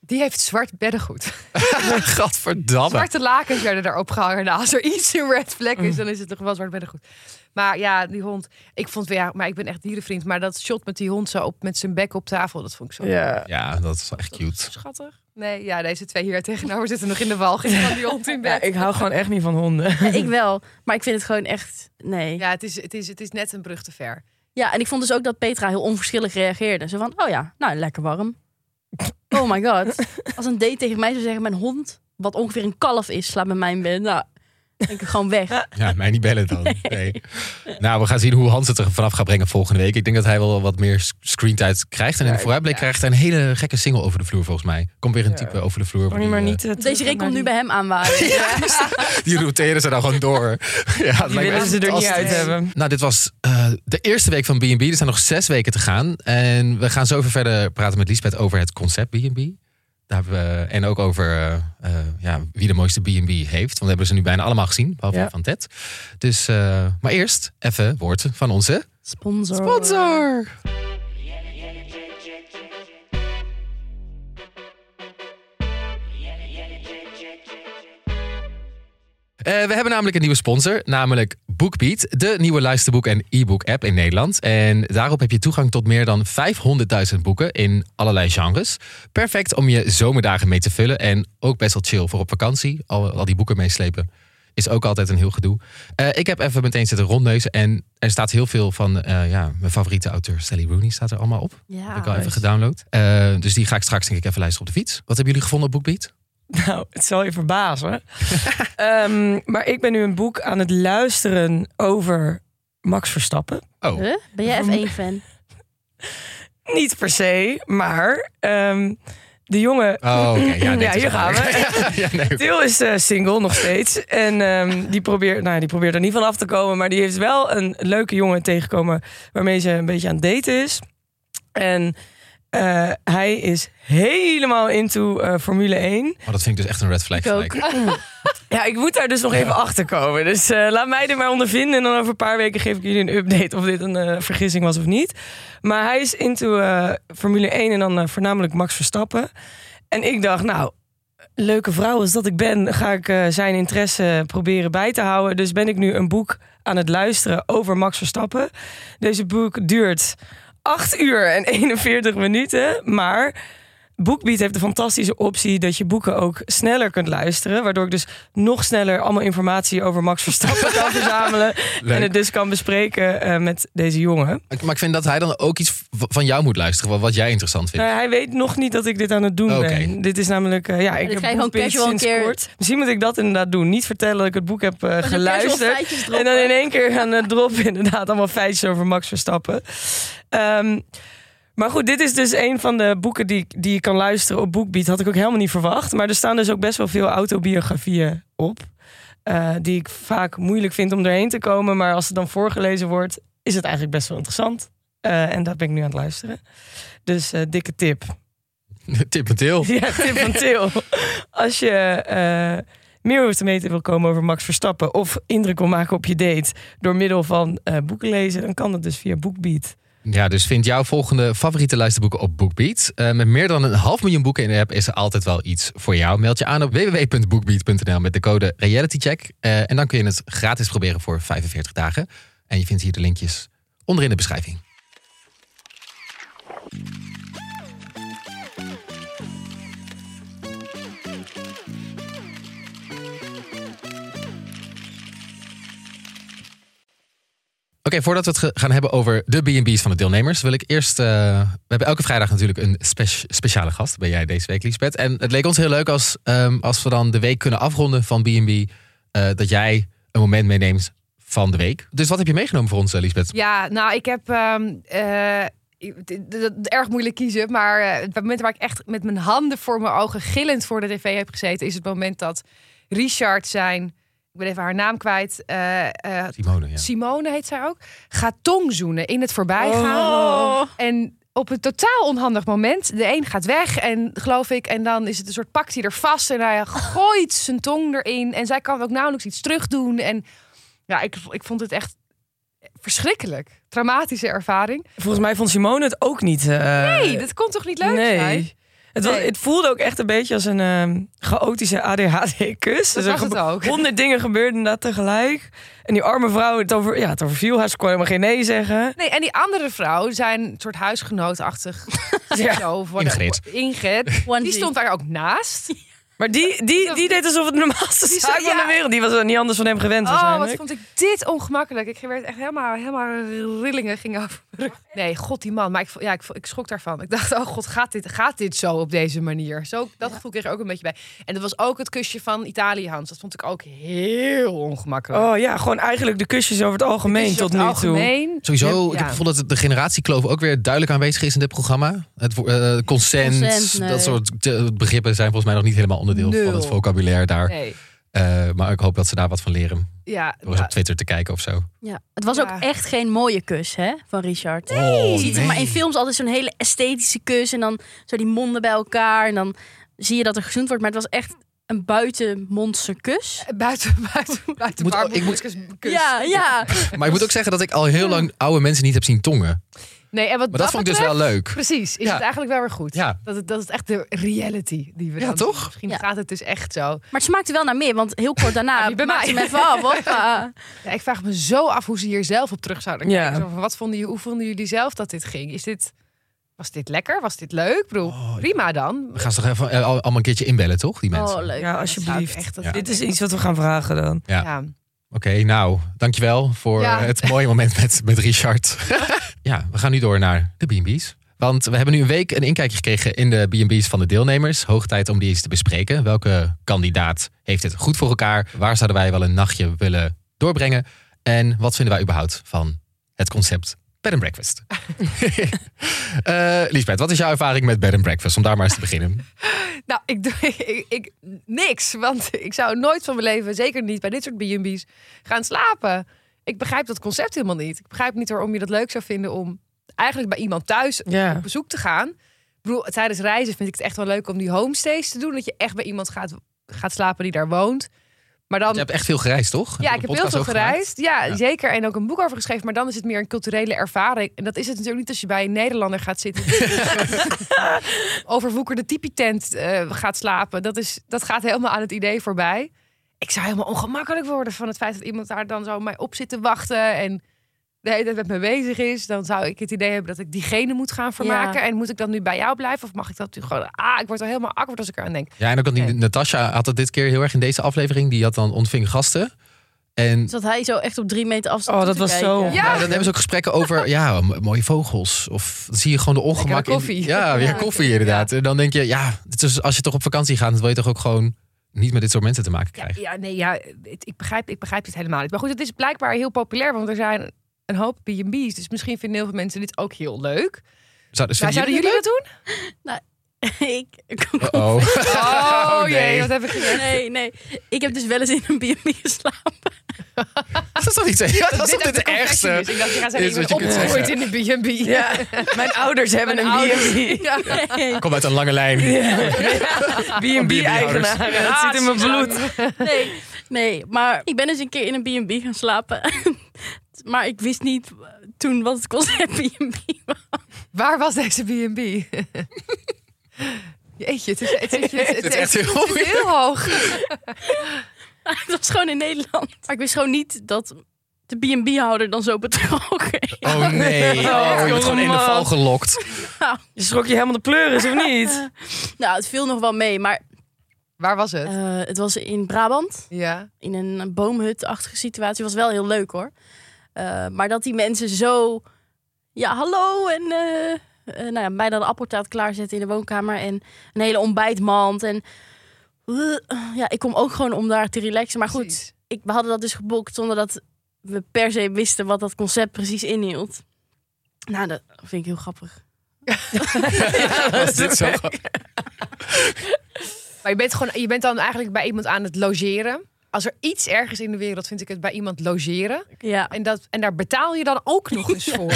S4: Die heeft zwart beddengoed.
S1: [LAUGHS] Gadverdamme.
S4: Zwarte lakens werden daarop gehangen. Nou, als er iets een red flag is, dan is het toch wel zwart beddengoed. Maar ja, die hond. Ik vond weer, ja, maar ik ben echt dierenvriend. Maar dat shot met die hond zo op, met zijn bek op tafel, dat vond ik zo
S2: ja.
S1: Ja, dat is wel echt [LAUGHS] cute.
S4: schattig. Nee, ja, deze twee hier tegenover zitten nog in de walging van [LAUGHS] die hond in
S2: Ja,
S4: bed.
S2: ik hou gewoon echt niet van honden.
S3: Ja, [LAUGHS] ik wel, maar ik vind het gewoon echt. Nee. Ja.
S4: Ja, het is, het, is, het is net een brug te ver.
S3: en ik vond dus ook dat Petra heel onverschillig reageerde. Zo van: oh ja, nou lekker warm. Oh my god. Als een date tegen mij zou zeggen: mijn hond, wat ongeveer een kalf is, slaapt bij mij in bed. Nou, dan denk ik gewoon weg.
S1: Ja, mij niet bellen dan.
S2: [LAUGHS]
S1: Nee. Nou, we gaan zien hoe Hans het er vanaf gaat brengen volgende week. Ik denk dat hij wel wat meer sc- screentijd krijgt. En in de vooruitblik krijgt hij een hele gekke single over de vloer volgens mij. Komt weer een type over de vloer.
S2: Kan je maar
S1: die, eh,
S2: niet. eh, terug
S3: Deze
S2: naar
S3: Rick komt nu
S2: die-
S3: bij hem aanwaaien.
S1: Die routeren ze dan gewoon
S2: [LAUGHS]
S1: door. Ja, dat
S2: Die
S1: lijkt me
S2: willen
S1: echt
S2: ze er niet
S1: fantastisch.
S2: uit hebben.
S1: Nou, dit was eh, de eerste week van B&B. Er zijn nog zes weken te gaan. En we gaan zo even verder praten met Liesbeth over het concept B&B. Daar hebben we- en ook over eh, eh, ja, wie de mooiste B&B heeft. Want we hebben ze nu bijna allemaal gezien, behalve
S2: Ja.
S1: die van Ted. Dus, eh, maar eerst even woord van onze
S3: Sponsor.
S1: sponsor. Eh, we hebben namelijk een nieuwe sponsor, namelijk BookBeat, de nieuwe luisterboek- en e-book-app in Nederland. En daarop heb je toegang tot meer dan 500.000 boeken in allerlei genres. Perfect om je zomerdagen mee te vullen en ook best wel chill voor op vakantie. Al, al die boeken meeslepen is ook altijd een heel gedoe. Eh, ik heb even meteen zitten rondneuzen en er staat heel veel van eh, ja, mijn favoriete auteur Sally Rooney staat er allemaal op.
S3: Ja.
S1: heb
S2: Ah,
S1: ik al even gedownload. Eh, dus die ga ik straks denk ik even luisteren op de fiets. Wat hebben jullie gevonden op BookBeat?
S2: Nou, het zal je verbazen. [LAUGHS] Ehm, maar ik ben nu een boek aan het luisteren over Max Verstappen.
S1: Oh,
S3: Huh? Ben jij F1-fan?
S2: Niet per se, maar ehm, de jongen...
S1: Oh, oké.
S2: [LAUGHS]
S1: Ja, dit
S2: Ja,
S1: is
S2: hier
S1: wel
S2: gaan
S1: leuk. [LAUGHS] ja, nee.
S2: Til is eh, single nog steeds. En ehm, die, probeert, nou, die probeert er niet van af te komen. Maar die heeft wel een leuke jongen tegengekomen. waarmee ze een beetje aan het daten is. En eh, hij is helemaal into eh, Formule 1.
S1: Oh, dat vind ik dus echt een red flag.
S3: Ik ook. [LAUGHS]
S1: gelijk.
S2: Ja, ik moet daar dus nog even achter komen. Dus eh, laat mij er maar ondervinden. En dan over een paar weken geef ik jullie een update of dit een eh, vergissing was of niet. Maar hij is into eh, Formule 1 en dan eh, voornamelijk Max Verstappen. En ik dacht, nou, leuke vrouw als dat ik ben, ga ik eh, zijn interesse proberen bij te houden. Dus ben ik nu een boek aan het luisteren over Max Verstappen. Deze boek duurt 8 uur en 41 minuten, maar Bookbeat heeft de fantastische optie dat je boeken ook sneller kunt luisteren. Waardoor ik dus nog sneller allemaal informatie over Max Verstappen kan verzamelen.
S1: Leuk.
S2: En het dus kan bespreken eh, met deze jongen.
S1: Maar ik vind dat hij dan ook iets v- van jou moet luisteren. Wat, wat jij interessant vindt.
S2: Nou, hij weet nog niet dat ik dit aan het doen
S1: Oké.
S2: ben. Dit is namelijk, eh, ja, ik
S3: dit
S2: heb
S3: ga je gewoon
S2: Bookbeat
S3: casual een
S2: sinds
S3: keer-
S2: kort. Misschien moet ik dat inderdaad doen. Niet vertellen dat ik het boek heb eh, geluisterd. En dan in één keer gaan het droppen, inderdaad. Allemaal feitjes over Max Verstappen. Ehm, maar goed, dit is dus een van de boeken die, ik- die je kan luisteren op Boekbeat. Had ik ook helemaal niet verwacht. Maar er staan dus ook best wel veel autobiografieën op. eh, die ik vaak moeilijk vind om erheen te komen. Maar als het dan voorgelezen wordt, is het eigenlijk best wel interessant. Eh, en dat ben ik nu aan het luisteren. Dus eh, dikke tip.
S1: [LAUGHS] Tip en til.
S2: [LAUGHS] Ja, tip van Til. Als je eh, meer over te meten wil komen over Max Verstappen... of indruk wil maken op je date door middel van eh, boeken lezen... dan kan dat dus via BookBeat.
S1: Ja, dus vind jouw volgende favoriete lijstenboeken op BookBeat. Eh, met meer dan een half miljoen boeken in de app is er altijd wel iets voor jou. Meld je aan op www.bookbeat.nl met de code realitycheck. Eh, en dan kun je het gratis proberen voor 45 dagen. En je vindt hier de linkjes onderin de beschrijving. Oké, voordat we het ge- gaan hebben over de B&B's van de deelnemers, wil ik eerst. eh, we hebben elke vrijdag natuurlijk een spe- speciale gast. Ben jij deze week, Liesbeth? En het leek ons heel leuk als, ehm, als we dan de week kunnen afronden van B&B. eh, dat jij een moment meeneemt van de week. Dus wat heb je meegenomen voor ons, eh, Liesbeth?
S4: Ja, nou, ik heb ehm, eh, d- d- d- erg moeilijk kiezen, maar eh, het moment waar ik echt met mijn handen voor mijn ogen gillend voor de tv heb gezeten, is het moment dat Richard zijn, ik ben even haar naam kwijt, eh, eh,
S1: Simone, ja.
S4: Simone heet zij ook, gaat tongzoenen in het voorbijgaan.
S3: Oh.
S4: En op een totaal onhandig moment, de een gaat weg en geloof ik, en dan is het een soort pakt hij er vast en hij gooit zijn tong erin en zij kan ook nauwelijks iets terugdoen en ja, ik, ik vond het echt verschrikkelijk, traumatische ervaring.
S2: Volgens mij vond Simone het ook niet... eh,
S4: Nee, dat kon toch niet leuk zijn?
S2: nee. Het, was,
S4: Nee.
S2: het voelde ook echt een beetje als een ehm, chaotische ADHD-kus.
S4: Dat was het ook.
S2: Dus Honderd dingen gebeurden inderdaad tegelijk. En die arme vrouw, het, over, ja, het overviel haar. Ze kon helemaal geen nee zeggen.
S4: Nee, en die andere vrouw, zijn een soort huisgenootachtig.
S2: Ja.
S4: zo, of wat-
S1: Ingrid.
S4: Ingrid.
S3: Onesie.
S4: Die stond daar ook naast.
S2: Maar die, die, die deed alsof het de normaalste
S4: Die
S2: zaak
S4: zei,
S2: van de
S4: ja.
S2: wereld. Die was er niet anders van hem gewend
S4: Oh, wat
S2: waarschijnlijk.
S4: vond ik dit ongemakkelijk. Ik werd echt helemaal, helemaal rillingen gingen over. mijn rug. Nee, god, die man. Maar ik, vo- ja, ik, vo- ik schrok daarvan. Ik dacht, oh god, gaat dit, gaat dit zo op deze manier? Zo, dat gevoel kreeg ik ook een beetje bij. En dat was ook het kusje van Italië, Hans. Dat vond ik ook heel ongemakkelijk.
S2: Oh ja, gewoon eigenlijk de kusjes over het algemeen
S4: Kusjes
S2: tot
S4: over
S2: nu
S4: het algemeen.
S1: Sowieso, ik heb
S4: Ja.
S1: het gevoel dat de generatiekloof ook weer duidelijk aanwezig is in dit programma. Het wo- eh, consent,
S3: Consent, nee.
S1: dat soort eh, begrippen zijn volgens mij nog niet helemaal onderdeel van
S4: Nul.
S1: het vocabulaire daar.
S4: Nee.
S1: Eh, maar ik hoop dat ze daar wat van leren.
S4: Ja,
S1: Door eens op Twitter te kijken of
S4: [LAUGHS]
S1: zo.
S3: Ja, het was
S4: Ja.
S3: ook echt geen mooie kus hè, van Richard.
S1: Oh,
S3: je ziet hem maar in
S1: nee.
S3: films altijd zo'n hele esthetische kus en dan zo die monden bij elkaar en dan zie je dat er gezoend wordt, maar het was echt een buitenmondse kus.
S4: nou, buiten, [LAUGHS] buiten, buiten.
S1: Moet-
S4: waar
S1: ik moet-
S4: kus- kus.
S3: Ja, ja.
S1: Maar ik moet ook zeggen dat ik al heel lang oude mensen niet heb zien tongen.
S4: Nee, en wat
S1: Maar dat vond ik dus wel
S4: betreft-
S1: leuk.
S4: Precies, is
S1: Ja.
S4: het eigenlijk wel weer goed.
S1: Ja.
S4: Dat, het, dat is echt de reality die we
S1: Ja,
S4: dan-
S1: toch?
S4: Misschien
S3: Ja.
S4: gaat het dus echt zo.
S3: Maar het smaakte wel naar meer, want heel kort daarna
S4: niet bij
S3: maakte
S4: mij.
S3: hem even af. Ah. Hoppa.
S4: Ja, ik vraag me zo af hoe ze hier zelf op terug zouden
S2: Ja.
S4: kijken. Zo van, wat vonden, jullie- hoe vonden jullie zelf dat dit ging? Is dit, was dit lekker? Was dit leuk? Ik bedoel,
S1: Oh,
S4: prima dan.
S1: We gaan ze toch even eh, al- allemaal een keertje inbellen, toch? Die mensen.
S3: Oh, leuk.
S2: Ja,
S4: zou ik
S2: alsjeblieft.
S4: echt- dat
S1: Ja.
S4: zou
S2: Dit
S4: ik
S2: is
S4: echt-
S2: iets wat we gaan vragen dan.
S1: Ja.
S4: Ja.
S1: Oké, nou, dankjewel voor
S4: Ja.
S1: eh, het mooie moment met, met
S4: [LAUGHS]
S1: Richard. ja, we gaan nu door naar de B&B's. Want we hebben nu een week een inkijkje gekregen in de B&B's van de deelnemers. Hoog tijd om die eens te bespreken. Welke kandidaat heeft het goed voor elkaar? Waar zouden wij wel een nachtje willen doorbrengen? En wat vinden wij überhaupt van het concept Bed and
S4: [LAUGHS]
S1: breakfast. Eh Liesbeth, wat is jouw ervaring met bed and breakfast? Om daar maar eens te beginnen.
S4: Nou, ik doe [LAUGHS] ik, ik- niks. Want ik zou nooit van mijn leven, zeker niet bij dit soort B&B's, gaan slapen. Ik begrijp dat concept helemaal niet. Ik begrijp niet waarom je dat leuk zou vinden om eigenlijk bij iemand thuis
S2: Ja.
S4: op bezoek te gaan. Ik bedoel, tijdens reizen vind ik het echt wel leuk om die homestays te doen. Dat je echt bij iemand gaat, gaat slapen die daar woont. Maar dan,
S1: Je hebt echt veel gereisd, toch?
S4: ja,
S1: Een
S4: ik heb heel
S1: podcast
S4: veel
S1: ook gemaakt.
S4: gereisd. Ja,
S1: Ja.
S4: zeker. En ook een boek over geschreven. Maar dan is het meer een culturele ervaring. En dat is het natuurlijk niet als je bij een Nederlander gaat zitten.
S1: [LAUGHS]
S4: die in een soort Overwoekerde tipi-tent eh, gaat slapen. Dat, is, dat gaat helemaal aan het idee voorbij. Ik zou helemaal ongemakkelijk worden van het feit dat iemand daar dan zo op mij op zit te wachten. En de hele tijd met me bezig is. Dan zou ik het idee hebben dat ik diegene moet gaan vermaken. En moet ik dan nu bij jou blijven? Of mag ik dat nu gewoon... Ah, ik word al helemaal akkoord als ik eraan denk.
S1: Ja, en ook dat die
S4: Nee.
S1: Natasja had het dit keer heel erg in deze aflevering. Die had dan ontving gasten. En
S3: Zat Dus hij zo echt op drie meter afstand
S2: Oh, dat
S3: te
S2: was
S3: kijken.
S2: zo-
S1: Ja, dan hebben ze ook gesprekken over ja, m- mooie vogels. Of dan zie je gewoon de ongemak.
S4: Lekkere koffie.
S1: In, ja, weer
S3: Ja.
S1: koffie inderdaad. En dan denk je, ja, het is, als je toch op vakantie gaat, dan wil je toch ook gewoon niet met dit soort mensen te maken
S4: Ja,
S1: krijgen.
S4: ja, nee, ja, het- ik, begrijp, ik begrijp dit helemaal niet. Maar goed, het is blijkbaar heel populair, want er zijn een hoop B&B's. Dus misschien vinden heel veel mensen dit ook heel leuk.
S1: Zou, dus
S4: Maar
S1: vinden
S4: zouden jullie dat doen?
S3: [LAUGHS] ik, ik-
S1: jullie- Uh-oh.
S4: Oh,
S1: Oh, nee.
S4: jee, wat heb ik
S3: [LAUGHS]
S4: gezegd?
S3: nee, nee. Ik heb dus wel eens in een B&B geslapen.
S1: [LAUGHS] dat is toch niet ja, dat is toch
S4: Dit
S1: niet
S4: echt
S1: het
S4: een
S1: ergste?
S4: confessie dus. Ik dacht, je gaat zeggen,
S1: is
S4: ik
S1: wat je
S4: ben
S1: kunt
S4: opgegroeid in de B&B.
S2: Ja, mijn ouders hebben
S4: Mijn
S2: een
S4: ouders.
S2: B&B.
S4: Ja.
S3: Oh, Nee,
S1: Kom uit een lange
S4: [LAUGHS]
S1: lijn.
S2: B&B-eigenaar. Dat zit in mijn bloed.
S3: nee, [LAUGHS] nee. Maar ik ben eens een keer in een B&B gaan slapen. [LAUGHS] maar ik wist niet toen wat het [LAUGHS] concept B&B was.
S4: Waar was deze B&B? [LAUGHS] Jeetje, het is, het is, het is, het
S1: Dit is
S4: is
S1: echt heel
S4: het is heel hoog.
S3: het was gewoon in Nederland. Maar ik wist gewoon niet dat de B&B-houder dan zo betrokken [LAUGHS] is.
S1: Oh nee. Oh, je wordt gewoon in de
S2: jongeman.
S1: val
S4: [LAUGHS]
S1: gelokt.
S2: Je schrok je helemaal de pleuris, [LAUGHS] of niet?
S3: Nou, het viel nog wel mee. Maar
S4: Waar was het?
S3: eh, het was in Brabant.
S4: Ja.
S3: in een boomhutachtige situatie. Was wel heel leuk hoor. Eh, maar dat die mensen zo. Ja, hallo. En eh, eh, nou ja, bijna de appeltaart klaarzetten in de woonkamer. En een hele ontbijtmand. En. eh, ja, ik kom ook gewoon om daar te relaxen. Maar goed,
S4: precies.
S3: ik, we hadden dat dus geboekt zonder dat we per se wisten wat dat concept precies inhield. Nou, dat vind ik heel grappig.
S1: Was dit zo?
S4: Maar je bent, gewoon, je bent dan eigenlijk bij iemand aan het logeren. Als er iets ergens in de wereld vind ik het bij iemand logeren.
S3: Ja.
S4: En, dat, en daar betaal je dan ook nog [LAUGHS] eens voor.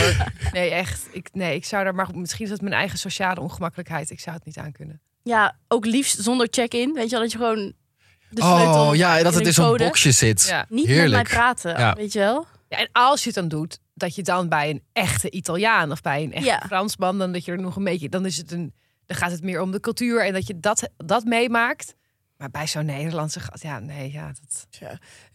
S4: Nee, echt. Ik, nee, ik zou daar maar. Misschien is dat mijn eigen sociale ongemakkelijkheid. Ik zou het niet aankunnen.
S3: ja, ook liefst zonder check-in. Weet je wel, dat je gewoon. De sleutel
S1: Oh ja, dat
S3: in
S1: het
S3: een
S1: in zo'n
S3: code-
S1: boxje zit.
S4: Ja.
S3: Niet
S1: Heerlijk.
S3: met mij praten,
S1: Ja.
S3: weet je wel.
S4: Ja, en als je het dan doet, dat je dan bij een echte Italiaan of bij een echte
S3: Ja.
S4: Fransman, dan dat je er nog een beetje. Dan, is het een, dan gaat het meer om de cultuur en dat je dat, dat meemaakt. Maar bij zo'n Nederlandse gast, ja, nee, ja. Dat...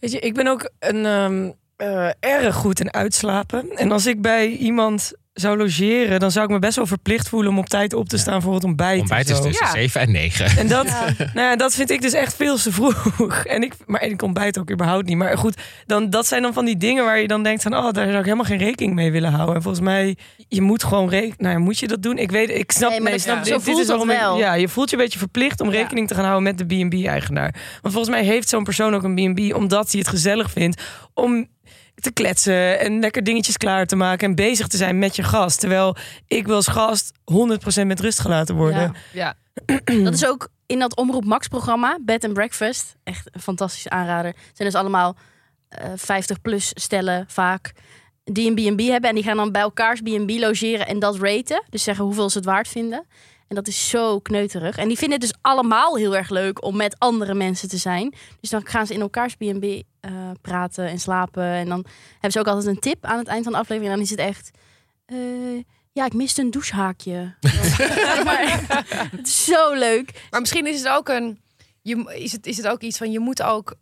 S2: Weet je, ik ben ook een, ehm, eh, erg goed in uitslapen. En als ik bij iemand zou logeren, dan zou ik me best wel verplicht voelen om op tijd op te staan voor het ontbijt. en
S1: Ontbijt is
S2: zo.
S1: tussen
S4: Ja.
S1: 7 en 9.
S2: En dat,
S3: Ja.
S2: [LAUGHS] nou ja, dat vind ik dus echt veel te vroeg. En ik, maar ik ontbijt ook überhaupt niet. Maar goed, dan, dat zijn dan van die dingen waar je dan denkt van... oh, daar zou ik helemaal geen rekening mee willen houden. En volgens mij, je moet gewoon rekening... Nou ja, moet je dat doen? Ik weet, ik snap...
S3: Nee, maar dat-
S2: ik snap
S3: zo voelt het
S2: waarom ik-
S3: wel.
S2: ja, je voelt je een beetje verplicht om
S3: Ja.
S2: rekening te gaan houden met de B&B-eigenaar. Want volgens mij heeft zo'n persoon ook een B&B... omdat hij het gezellig vindt om te kletsen en lekker dingetjes klaar te maken... en bezig te zijn met je gast. Terwijl ik wil als gast 100% met rust gelaten worden.
S3: Ja.
S4: Ja,
S3: Dat is ook in dat Omroep Max programma, Bed and Breakfast. Echt een fantastische aanrader. Het zijn dus allemaal 50-plus stellen vaak die een B&B hebben. En die gaan dan bij elkaars B&B logeren en dat raten. Dus zeggen hoeveel ze het waard vinden. En dat is zo kneuterig. En die vinden het dus allemaal heel erg leuk om met andere mensen te zijn. Dus dan gaan ze in elkaars B&B eh, praten en slapen. En dan hebben ze ook altijd een tip aan het eind van de aflevering. En dan is het echt... eh, ja, ik miste een douchehaakje. maar, het is zo leuk.
S4: Maar misschien is het ook een. Je, mo- is, het, is het ook iets van je moet ook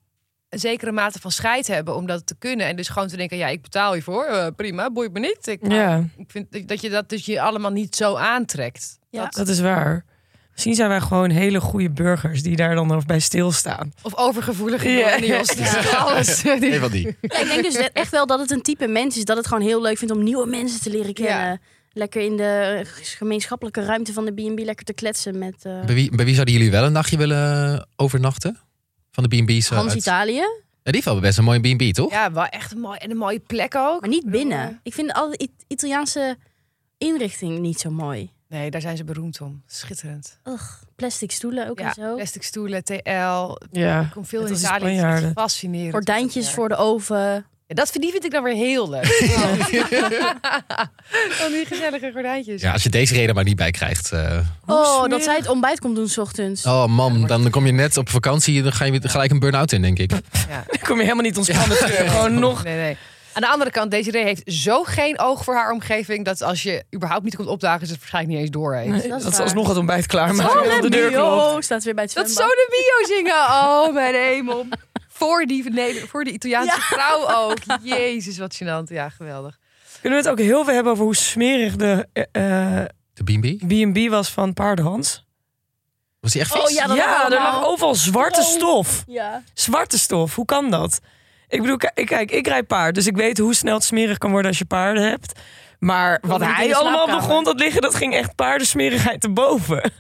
S4: een zekere mate van scheid hebben om dat te kunnen. En dus gewoon te denken, ja, ik betaal hiervoor. eh, prima, boeit me niet. Ik,
S2: ja.
S4: ik vind dat je dat dus je allemaal niet zo aantrekt.
S3: Ja.
S4: Dat,
S2: Dat is waar. Misschien zijn wij gewoon hele goede burgers die daar dan ook bij stilstaan.
S4: of overgevoelige
S2: Ja.
S4: millennials. die zeggen [LAUGHS] Alles. eh, die-
S1: Een van die.
S3: Ja, ik denk [LAUGHS] dus echt wel dat het een type mens is. Dat het gewoon heel leuk vindt om nieuwe mensen te leren kennen.
S4: Ja.
S3: Lekker in de gemeenschappelijke ruimte van de B&B lekker te kletsen met eh
S1: Bij wie, bij wie zouden jullie wel een nachtje willen overnachten? Van de B&B's? eh,
S3: Hans
S1: uit-
S3: Italië.
S1: die heeft wel best een mooie B&B, toch?
S4: Ja, wel echt een mooi, en een mooie plek ook.
S3: Maar niet
S4: Ik bedoel, eh,
S3: binnen. Ik vind al die It- Italiaanse inrichting niet zo mooi.
S4: Nee, daar zijn ze beroemd om. Schitterend.
S3: Ugh, plastic stoelen ook
S4: Ja,
S3: en zo.
S4: plastic stoelen, TL.
S2: Ja.
S4: Ik kom veel
S2: Het
S4: in
S2: was de
S4: Italië. dus Het is
S2: Spanjaarden.
S4: echt Fascinerend.
S3: Gordijntjes voor de oven.
S4: Ja, dat vind, die vind ik dan weer heel leuk.
S3: [LAUGHS]
S4: Van die gezellige gordijntjes.
S1: Ja, als je deze reden maar niet bij krijgt. eh,
S3: Oh, dat
S2: smerig.
S3: zij het ontbijt komt doen s ochtends.
S1: Oh man, dan kom je net op vakantie en dan ga je weer gelijk een burn-out in, denk ik.
S4: Ja.
S2: Dan kom je helemaal niet ontspannen terug. Gewoon nog.
S4: Nee, nee. Aan de andere kant, Desiree heeft zo geen oog voor haar omgeving... dat als je überhaupt niet komt opdagen, ze het waarschijnlijk niet eens door heeft.
S3: dat is
S2: Dat is
S3: waar.
S2: alsnog het ontbijt klaar. Maar
S3: Oh,
S2: de deur klopt.
S3: Lembio staat weer bij het
S4: Dat
S3: zwembad.
S4: zo de bio zingen. Oh, mijn hemel. Voor die, nee, voor die Italiaanse vrouw ook. Jezus, wat gênant. Ja, geweldig.
S2: Kunnen we het ook heel veel hebben over hoe smerig de eh, eh,
S1: De B&B?
S2: B&B was van Paardenhans?
S1: Was die echt vies?
S3: Oh ja, dat
S2: ja, er
S3: allemaal.
S2: lag overal zwarte
S3: Oh.
S2: stof.
S3: Ja.
S2: Zwarte stof, hoe kan dat? Ik bedoel, kijk, kijk, ik rijd paard, dus ik weet hoe snel het smerig kan worden als je paarden hebt. Maar wat
S3: niet in de
S2: hij allemaal op de
S3: slaapkamer.
S2: grond had liggen, dat ging echt paardensmerigheid te boven.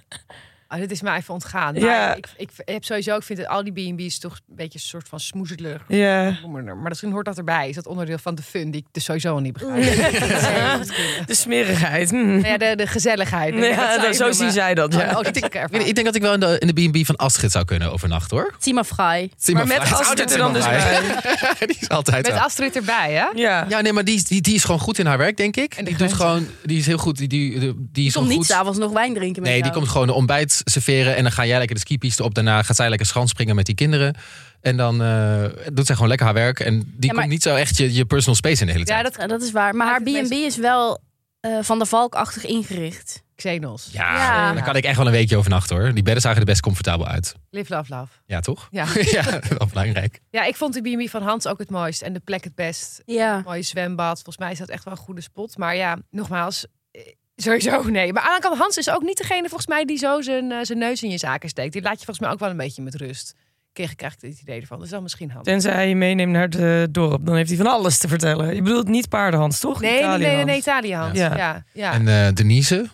S4: Oh, dit is mij even ontgaan. Maar
S2: Ja.
S4: ik, ik heb sowieso, ik vind dat al die B&B's toch een beetje een soort van smoezelig.
S2: Ja.
S4: Maar misschien hoort dat erbij. Is dat onderdeel van de fun die ik dus sowieso al niet begrijp. Dat zou heel goed kunnen.
S2: De smerigheid. hm.
S4: Nou ja, de, de gezelligheid.
S2: Ja, dat- zo zien
S4: zien
S2: zij dat. Ja.
S4: Oh, die
S1: Ik, denk- ik denk dat ik wel in de, in de B&B van Astrid zou kunnen overnachten, hoor.
S3: Tima Fry.
S1: Zie
S2: Maar met
S1: vrij. Het is
S2: Astrid er dan
S1: altijd
S2: dus
S1: iemand
S2: bij.
S1: bij. [LAUGHS] die is altijd
S4: Met
S1: wel.
S4: Astrid erbij, hè?
S2: Ja.
S1: Ja, nee, maar die, is- die, die is gewoon goed in haar werk, denk ik.
S4: En
S1: die,
S4: de
S1: doet
S4: grenzen.
S1: gewoon, die is heel goed. Die, die, die,
S3: Die
S1: is
S3: komt
S1: gewoon
S3: niet
S1: goed.
S3: s'avonds nog wijn drinken met
S1: Nee, die
S3: jou.
S1: komt gewoon de ontbijt serveren. En dan ga jij lekker de skipiste op. Daarna gaat zij lekker schanspringen met die kinderen. En dan eh, doet zij gewoon lekker haar werk. En die
S3: maar-
S1: komt niet zo echt je, je personal space in de hele tijd.
S4: Ja, dat
S3: Ja, eh, dat is waar. Maar haar
S4: Maakt het
S3: B&B is wel eh, van de valkachtig ingericht.
S4: Xenos.
S1: Ja,
S3: Ja.
S1: daar kan ik echt wel een weekje overnachten hoor. Die bedden zagen er best comfortabel uit.
S4: Live, love, love.
S1: Ja, toch?
S4: Ja.
S1: [LAUGHS] ja, wel belangrijk.
S4: Ja, ik vond de B&B van Hans ook het mooist en de plek het best.
S3: Ja.
S4: Mooie zwembad. Volgens mij is dat echt wel een goede spot. Maar ja, nogmaals, eh, sowieso nee. Maar aan de andere kant, Hans is ook niet degene volgens mij die zo zijn, eh, zijn neus in je zaken steekt. Die laat je volgens mij ook wel een beetje met rust. Kreeg, krijg ik het idee ervan. Dus dan misschien Hans.
S2: Tenzij hij je meeneemt naar het eh, dorp, dan heeft hij van alles te vertellen. Je bedoelt niet paardenhans, toch?
S4: Nee, nee, nee, nee, nee,
S2: Italiëhans.
S4: Italië Hans.
S2: Ja.
S4: Ja, ja.
S1: En eh, Denise,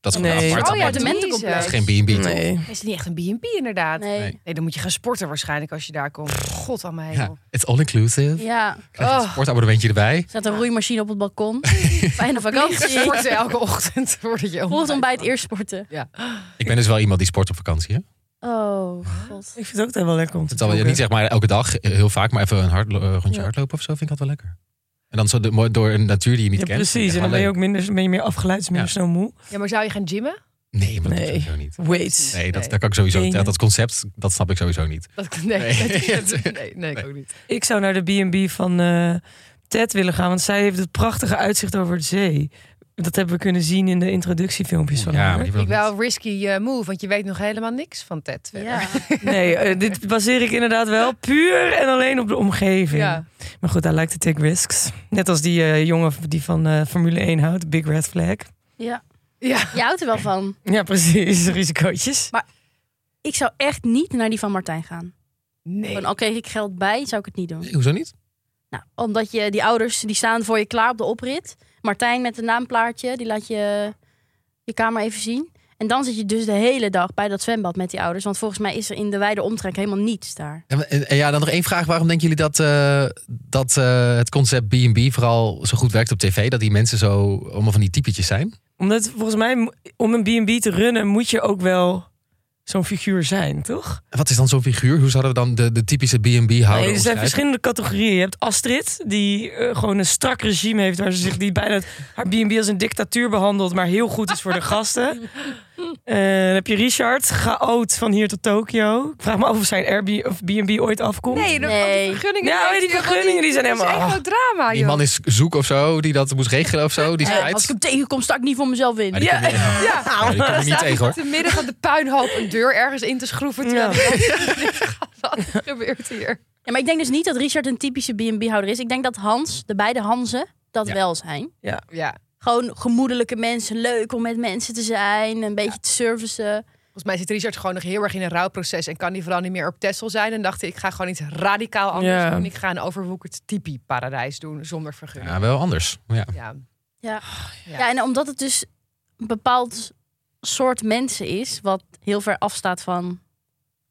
S1: dat is gewoon
S2: Nee.
S1: een apart
S4: Oh ja,
S1: appartement.
S4: Denise.
S3: Dementencomplex.
S1: Dat is geen B&B toch?
S2: Nee.
S4: Het is niet echt een B&B inderdaad. Nee.
S3: Nee.
S1: Nee.
S4: dan moet je gaan sporten waarschijnlijk als je daar komt. God aan mij.
S1: Ja, it's all inclusive.
S3: Ja. Er
S1: Krijg je een
S4: Oh.
S1: sportabonnementje erbij.
S3: staat een roeimachine op het balkon. [LAUGHS] Fijne vakantie.
S4: Sporten elke ochtend [LAUGHS] voordat je
S3: Volgend ontbijt eerst sporten.
S1: Ik ben dus wel iemand die sport op vakantie. Hè?
S3: Oh, god.
S2: Ik vind het ook dat wel lekker om te
S1: Het zal wel
S2: joggen.
S1: niet zeg maar elke dag, eh, heel vaak, maar even een hard, rondje
S2: Ja.
S1: hardlopen of zo vind ik dat wel lekker. En dan zo de- mooi door een natuur die je niet
S2: Ja,
S1: kent.
S2: precies. En dan ben je ook minder, ben je meer afgeleid, is minder
S1: Ja.
S2: snel moe.
S4: Ja, maar zou je gaan gymmen?
S1: Nee, maar dat
S2: Nee.
S1: doe ik sowieso niet.
S2: Wait.
S1: Nee, dat,
S4: Nee.
S1: dat kan ik sowieso
S2: Dingen.
S1: dat, dat concept, dat snap ik sowieso niet.
S4: Dat, nee,
S1: Nee.
S4: dat- [LAUGHS] nee, nee, ik ook niet.
S2: Ik zou naar de B&B van eh, Ted willen gaan, want zij heeft het prachtige uitzicht over de zee. Dat hebben we kunnen zien in de introductiefilmpjes van
S1: Ja, maar
S2: haar.
S1: die wil
S4: Ik
S1: ik niet.
S4: wel risky eh, move, want je weet nog helemaal niks van Ted. verder. [LAUGHS]
S3: Ja.
S2: Nee, eh, dit baseer ik inderdaad wel puur en alleen op de omgeving.
S4: Ja.
S2: Maar goed, hij lijkt to take risks. Net als die eh, jongen die van eh, Formule 1 houdt, Big Red Flag.
S3: ja.
S4: ja.
S3: Je houdt er wel van.
S2: Ja, precies. [LAUGHS] Risicootjes.
S3: Ik zou echt niet naar die van Martijn gaan.
S4: Nee.
S3: Van, al kreeg ik geld bij, zou ik het niet doen.
S1: Nee, hoezo niet?
S3: Nou, omdat je, die ouders die staan voor je klaar op de oprit. Martijn met een naamplaatje, die laat je je kamer even zien. En dan zit je dus de hele dag bij dat zwembad met die ouders. Want volgens mij is er in de wijde omtrek helemaal niets daar.
S1: En, en- en ja, dan nog één vraag. Waarom denken jullie dat, eh, dat eh, het concept B&B vooral zo goed werkt op tv? Dat die mensen zo allemaal van die typetjes zijn?
S2: Omdat volgens mij, mo- om een B&B te runnen, moet je ook wel zo'n figuur zijn, toch?
S1: En wat is dan zo'n figuur? Hoe zouden we dan de, de typische B&B houden?
S2: Nee, er zijn
S1: omschrijven?
S2: verschillende categorieën. Je hebt Astrid, die eh, gewoon een strak regime heeft... waar ze zich die bijna haar B&B als een dictatuur behandelt... maar heel goed is voor de [LAUGHS] gasten. Eh, dan heb je Richard, chaot van hier tot Tokio. Ik vraag me af of zijn Airbnb of B&B ooit afkomt.
S4: Nee, de, al
S3: Nee.
S4: Nou, die vergunningen. Oh,
S2: Ja,
S4: weet
S2: die
S4: je wel,
S2: vergunningen, die zijn
S4: dat is
S2: helemaal-
S4: echt groot drama, joh.
S1: Die man is zoek of zo, die dat moest regelen of zo. Die
S3: Eh,
S1: spijt.
S3: als ik hem tegenkom, sta ik niet voor mezelf in.
S1: Maar die kom je-
S4: [LAUGHS] Ja.
S1: Ja, die kom je niet
S4: Staat
S1: tegen hoor.
S4: Te midden van de puinhoop een deur ergens in te schroeven. Terwijl
S2: Ja.
S4: [LAUGHS] wat gebeurt hier?
S3: Ja, maar ik denk dus niet dat Richard een typische B&B-houder is. Ik denk dat Hans, de beide Hanzen, dat
S1: Ja.
S3: wel zijn.
S4: Ja,
S3: Gewoon gemoedelijke mensen, leuk om met mensen te zijn, een beetje te servicen.
S4: volgens mij zit Richard gewoon nog heel erg in een rouwproces. En kan die vooral niet meer op Texel zijn. En dacht ik, ik ga gewoon iets radicaal anders
S2: Ja.
S4: doen. Ik ga een overwoekerd tipi-paradijs doen zonder vergunning.
S1: Ja, wel anders. Ja.
S4: Ja. Ah,
S3: Ja.
S4: Ja.
S3: en omdat het dus een bepaald soort mensen is, wat heel ver afstaat van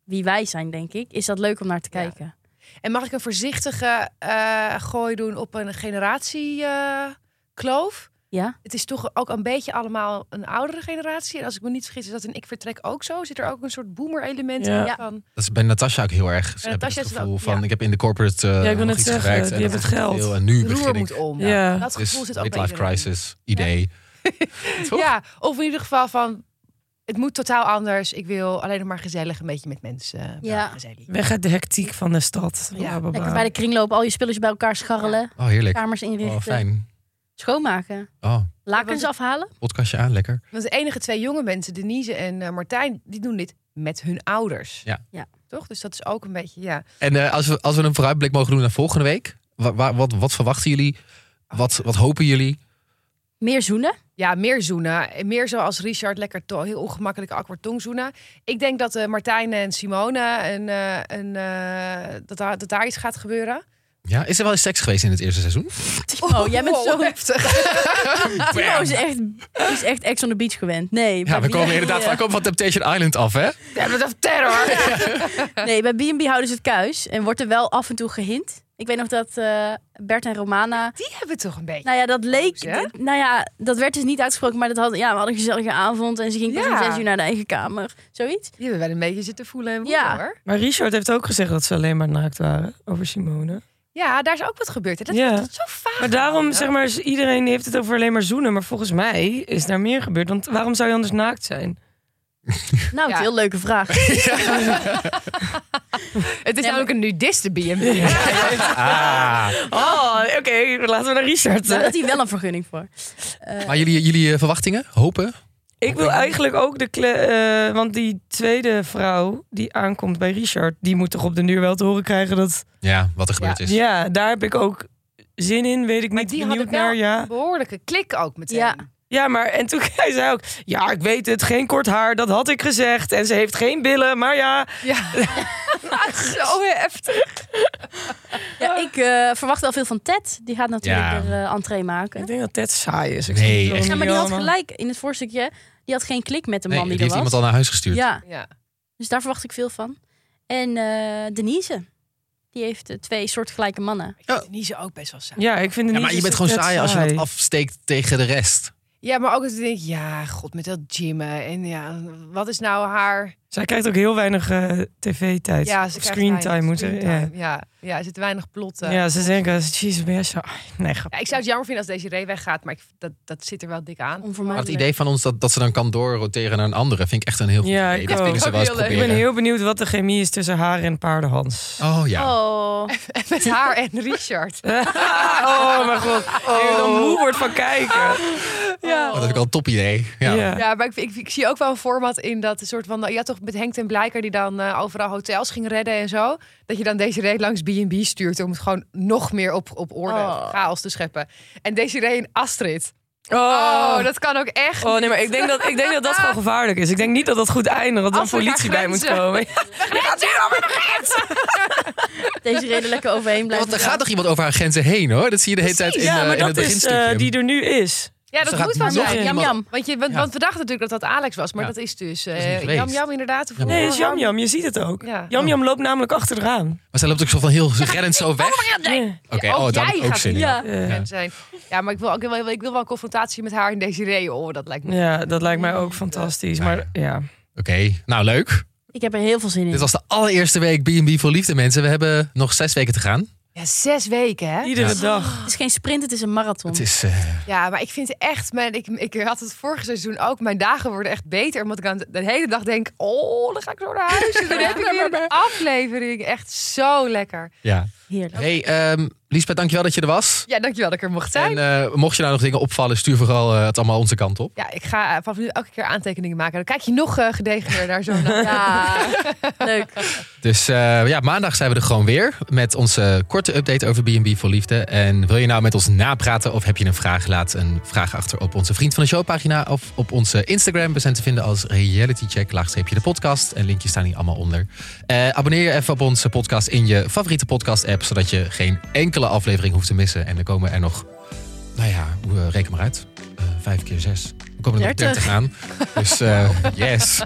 S3: wie wij zijn, denk ik, is dat leuk om naar te
S4: Ja.
S3: kijken.
S4: En mag ik een voorzichtige eh, gooi doen op een generatiekloof?
S3: Ja.
S4: het is toch ook een beetje allemaal een oudere generatie. En als ik me niet vergis, is dat in Ik Vertrek ook zo. Zit er ook een soort boomer-element
S2: Ja.
S4: in?
S3: Ja.
S4: Van,
S1: Dat is bij Natasja ook heel erg.
S4: Bij
S1: heb ik
S4: Natasja
S1: het
S4: is het
S1: gevoel
S4: ook,
S1: van,
S4: ja.
S1: ik heb in de corporate eh,
S2: ik wil
S1: nog
S2: net
S1: iets
S2: zeggen,
S1: gewerkt
S2: die
S1: en dat
S2: hebben
S1: is
S2: het geld.
S1: veel En nu
S4: de roer
S1: begin
S4: moet
S1: ik.
S4: om.
S2: Ja.
S4: Dat
S1: Dus
S4: gevoel zit al
S1: midlife
S4: beter in. [LAUGHS]
S1: crisis idee. toch?
S4: Ja, of in ieder geval van... Het moet totaal anders. Ik wil alleen nog maar gezellig een beetje met mensen. eh,
S3: Ja.
S4: Ja. Gezellig.
S2: Weg uit de hectiek van de stad.
S4: Ja,
S2: Blablabla.
S3: Lekker bij de kringloop al je spulletjes bij elkaar scharrelen.
S1: Oh, heerlijk.
S3: Kamers inrichten.
S1: Oh, fijn.
S3: Schoonmaken.
S1: Oh,
S3: Lakens afhalen.
S1: podcastje aan, lekker.
S4: Want de enige twee jonge mensen, Denise en eh, Martijn, die doen dit met hun ouders.
S1: Ja.
S3: Ja.
S4: Toch? Dus dat is ook een beetje, ja.
S1: En eh, als, we, als we een vooruitblik mogen doen naar volgende week, wa- wa- wat, wat verwachten jullie? Wat, wat hopen jullie?
S3: Meer
S4: [LAUGHS]
S3: zoenen.
S4: Ja, meer zoenen. En Meer zoals Richard, lekker to- heel ongemakkelijk awkward tong zoenen. Ik denk dat eh, Martijn en Simone een, eh, een, eh, dat, daar, dat daar iets gaat gebeuren.
S1: Ja, is er wel eens seks geweest in het eerste
S4: [LAUGHS]
S1: seizoen?
S3: Oh, jij bent
S4: Wow,
S3: zo...
S4: heftig.
S3: [LAUGHS] Timo is echt, is echt ex on the beach gewend. Nee.
S1: Ja,
S3: bij
S1: we komen
S3: B&B,
S1: inderdaad
S3: eh,
S1: vaak komen van Temptation Island af, hè?
S4: [LAUGHS] Ja, dat is terror.
S3: Nee, bij B&B houden ze het kuis. En wordt er wel af en toe gehint. Ik weet nog dat eh, Bert en Romana...
S4: Die hebben toch een beetje.
S3: Nou ja, dat leek...
S4: Hè?
S3: d- Nou ja, dat werd dus niet uitgesproken. Maar dat had, ja, we hadden een gezellige avond. En ze ging pas
S4: Ja.
S3: om zes uur naar de eigen kamer. Zoiets.
S4: Die hebben wel een beetje zitten voelen en
S3: Ja.
S4: ja. hoor.
S2: Maar Richard heeft ook gezegd dat ze alleen maar naakt waren over Simone.
S4: Ja, daar is ook wat gebeurd. hè. Dat,
S2: Ja.
S4: dat is zo vaag.
S2: Maar daarom,
S4: Ja.
S2: zeg maar, is- iedereen heeft het over alleen maar zoenen. Maar volgens mij is daar meer gebeurd. Want waarom zou je anders naakt zijn?
S3: Nou,
S4: Ja.
S3: een heel leuke
S4: [LAUGHS]
S3: vraag.
S4: Het is
S3: Ja,
S4: namelijk een nudiste B&B.
S1: Ah.
S2: [LAUGHS] Oh, oké, laten we naar Richard.
S3: Daar had hij wel een vergunning voor. Eh,
S1: Maar jullie, jullie eh, verwachtingen? Hopen?
S2: Ik wil eigenlijk ook de... kle- eh, want die tweede vrouw die aankomt bij Richard... die moet toch op de duur wel te horen krijgen dat...
S1: Ja, wat er gebeurd is.
S2: Ja, daar heb ik ook zin in, weet ik
S4: Maar
S2: niet.
S4: die
S2: benieuwd
S4: hadden wel
S2: naar, ja.
S4: een behoorlijke klik ook meteen.
S3: Ja.
S2: Ja, maar en toen [LAUGHS] zei ze ook... Ja, ik weet het, geen kort haar, dat had ik gezegd. En ze heeft geen billen, maar ja...
S4: ja. [LAUGHS] zo heftig.
S3: ja,
S4: Oh.
S3: ik eh, verwacht wel veel van Ted. Die gaat natuurlijk
S1: Ja.
S3: er eh, entree maken.
S2: Ik denk dat Ted saai is. Ik
S1: Nee,
S2: snap het wel
S1: echt
S3: Ja,
S1: niet.
S3: maar die had
S2: allemaal.
S3: gelijk in het voorstukje. Die had geen klik met de man
S1: Nee, die
S3: die
S1: heeft
S3: er was.
S1: iemand al naar huis gestuurd.
S3: Ja,
S4: Ja.
S3: dus daar verwacht ik veel van. En eh, Denise, die heeft eh, twee soortgelijke mannen.
S4: Ik vind Denise ook best wel saai.
S2: Ja, ik vind het
S1: Ja,
S2: niet
S1: maar je
S2: zo
S1: bent gewoon
S2: Ted
S1: saai als je dat afsteekt tegen de rest.
S4: Ja, maar ook dat ik denk, ja, god, met dat gymmen. En ja, wat is nou haar...
S2: Zij krijgt ook heel weinig eh, tv-tijd.
S4: Ja,
S2: Of
S4: ze
S2: screentime moeten.
S4: Ja. ja, ja, er zit weinig plot.
S2: Ja.
S4: eh.
S2: ja, ze denken, jezus, ben jij saai? Nee, grap.
S4: Ja, ik zou het jammer vinden als deze ree weggaat, maar ik, dat, dat zit er wel
S3: [LAUGHS]
S4: dik aan.
S1: Maar het
S3: Onvermijdelijk.
S1: idee van ons dat, dat ze dan kan doorroteren naar een andere vind ik echt een heel goed
S2: Ja,
S1: idee.
S2: ik
S1: dat
S2: ook.
S1: willen ze wel eens
S4: Ook heel
S2: Ik
S4: leuk.
S1: proberen.
S2: ben heel benieuwd wat de chemie is tussen haar en paardenhans.
S1: Oh ja.
S3: Oh,
S4: Met haar en Richard.
S2: [LAUGHS] oh mijn god. Ik ben moe wordt van kijken.
S1: Oh, dat heb ik al een top idee. Ja.
S2: Ja.
S4: Ja, maar ik, ik, ik zie ook wel een format in dat een soort van... nou, Je had toch met Henk ten Blijker die dan eh, overal hotels ging redden en zo. Dat je dan deze ree langs B&B stuurt om het gewoon nog meer op, op orde,
S3: Oh.
S4: chaos te scheppen. En deze ree en Astrid.
S2: Oh.
S4: Oh, dat kan ook echt.
S2: Oh nee, maar ik denk, dat, ik denk dat dat gewoon gevaarlijk is. Ik denk niet dat dat goed eindigt, dat dan
S4: Als we naar
S2: politie bij moet
S4: grenzen.
S2: komen.
S4: Gaat hier over de grens?
S3: deze reden lekker overheen
S1: Ja,
S3: blijven.
S1: want er
S3: gaan.
S1: gaat toch iemand over haar grenzen heen hoor? Dat zie je de hele tijd in,
S2: ja,
S1: eh,
S2: maar
S1: in
S2: dat
S1: het
S2: is eh,
S1: beginstukje.
S2: die er nu is.
S4: Ja,
S1: Ze
S4: dat
S1: gaat
S4: moet wel
S1: nog
S4: zijn.
S1: een
S3: Jam
S1: iemand-
S3: jam.
S4: Want, je, want,
S1: Ja.
S4: want we dachten natuurlijk dat dat Alex was, maar
S1: Ja.
S4: dat is dus
S1: is niet
S4: eh
S1: geweest.
S4: Jam Jam inderdaad. Of-
S2: Nee, dat is Jam Jam, je ziet het ook.
S4: Ja.
S2: Jam Jam loopt namelijk achter de raam.
S1: Maar zij loopt ook zo van heel reddend zo weg.
S2: Ja.
S1: Oké,
S4: Ook
S1: oh,
S4: jij
S1: dan ook
S4: gaat
S1: zin in.
S3: Ja.
S2: Ja. eh,
S4: Ja. Zijn. ja, maar ik wil, ook wel, ik wil wel een confrontatie met haar en Desiree. Oh, dat lijkt me.
S2: Ja, dat lijkt mij ook fantastisch. Maar ja,
S1: Oké, nou leuk.
S3: Ik heb er heel veel zin in.
S1: Dit was de allereerste week B&B voor liefde mensen. We hebben nog zes weken te gaan.
S4: Ja, zes weken, hè?
S2: iedere
S1: Ja.
S2: dag.
S3: Het is geen sprint, het is een marathon.
S1: Het is, eh,
S4: Ja, maar ik vind echt, mijn, ik, ik had het vorige seizoen ook. Mijn dagen worden echt beter, omdat ik aan de, de hele dag denk: oh, dan ga ik zo naar huis. En dan heb ik weer een aflevering. Echt zo lekker.
S1: ja.
S3: Heerlijk.
S1: Hey, ehm Liesbeth, dankjewel dat je er was.
S4: Ja, dankjewel dat ik er mocht zijn.
S1: En eh, mocht je nou nog dingen opvallen, stuur vooral eh, het allemaal onze kant op.
S4: ja, ik ga eh, vanaf nu elke keer aantekeningen maken. Dan kijk je nog eh, gedegen naar zo'n.
S3: Ja, [LAUGHS] leuk.
S1: Dus eh, ja, maandag zijn we er gewoon weer met onze korte update over B&B voor Liefde. En wil je nou met ons napraten of heb je een vraag? Laat een vraag achter op onze Vriend van de Show pagina of op onze Instagram. We zijn te vinden als realitycheck, laagstreepje de podcast. En linkjes staan hier allemaal onder. Eh, abonneer je even op onze podcast in je favoriete podcast app. Zodat je geen enkele aflevering hoeft te missen. En er komen er nog, nou ja, hoe, eh, reken maar uit. Eh, vijf keer zes. We komen er nog 30 aan. Dus eh, yes.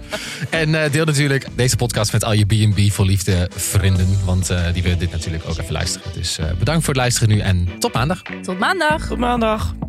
S1: En eh, deel natuurlijk deze podcast met al je B&B voor liefde vrienden. Want eh, die willen dit natuurlijk ook even luisteren. Dus eh, bedankt voor het luisteren nu en tot maandag.
S3: Tot maandag.
S2: Tot maandag.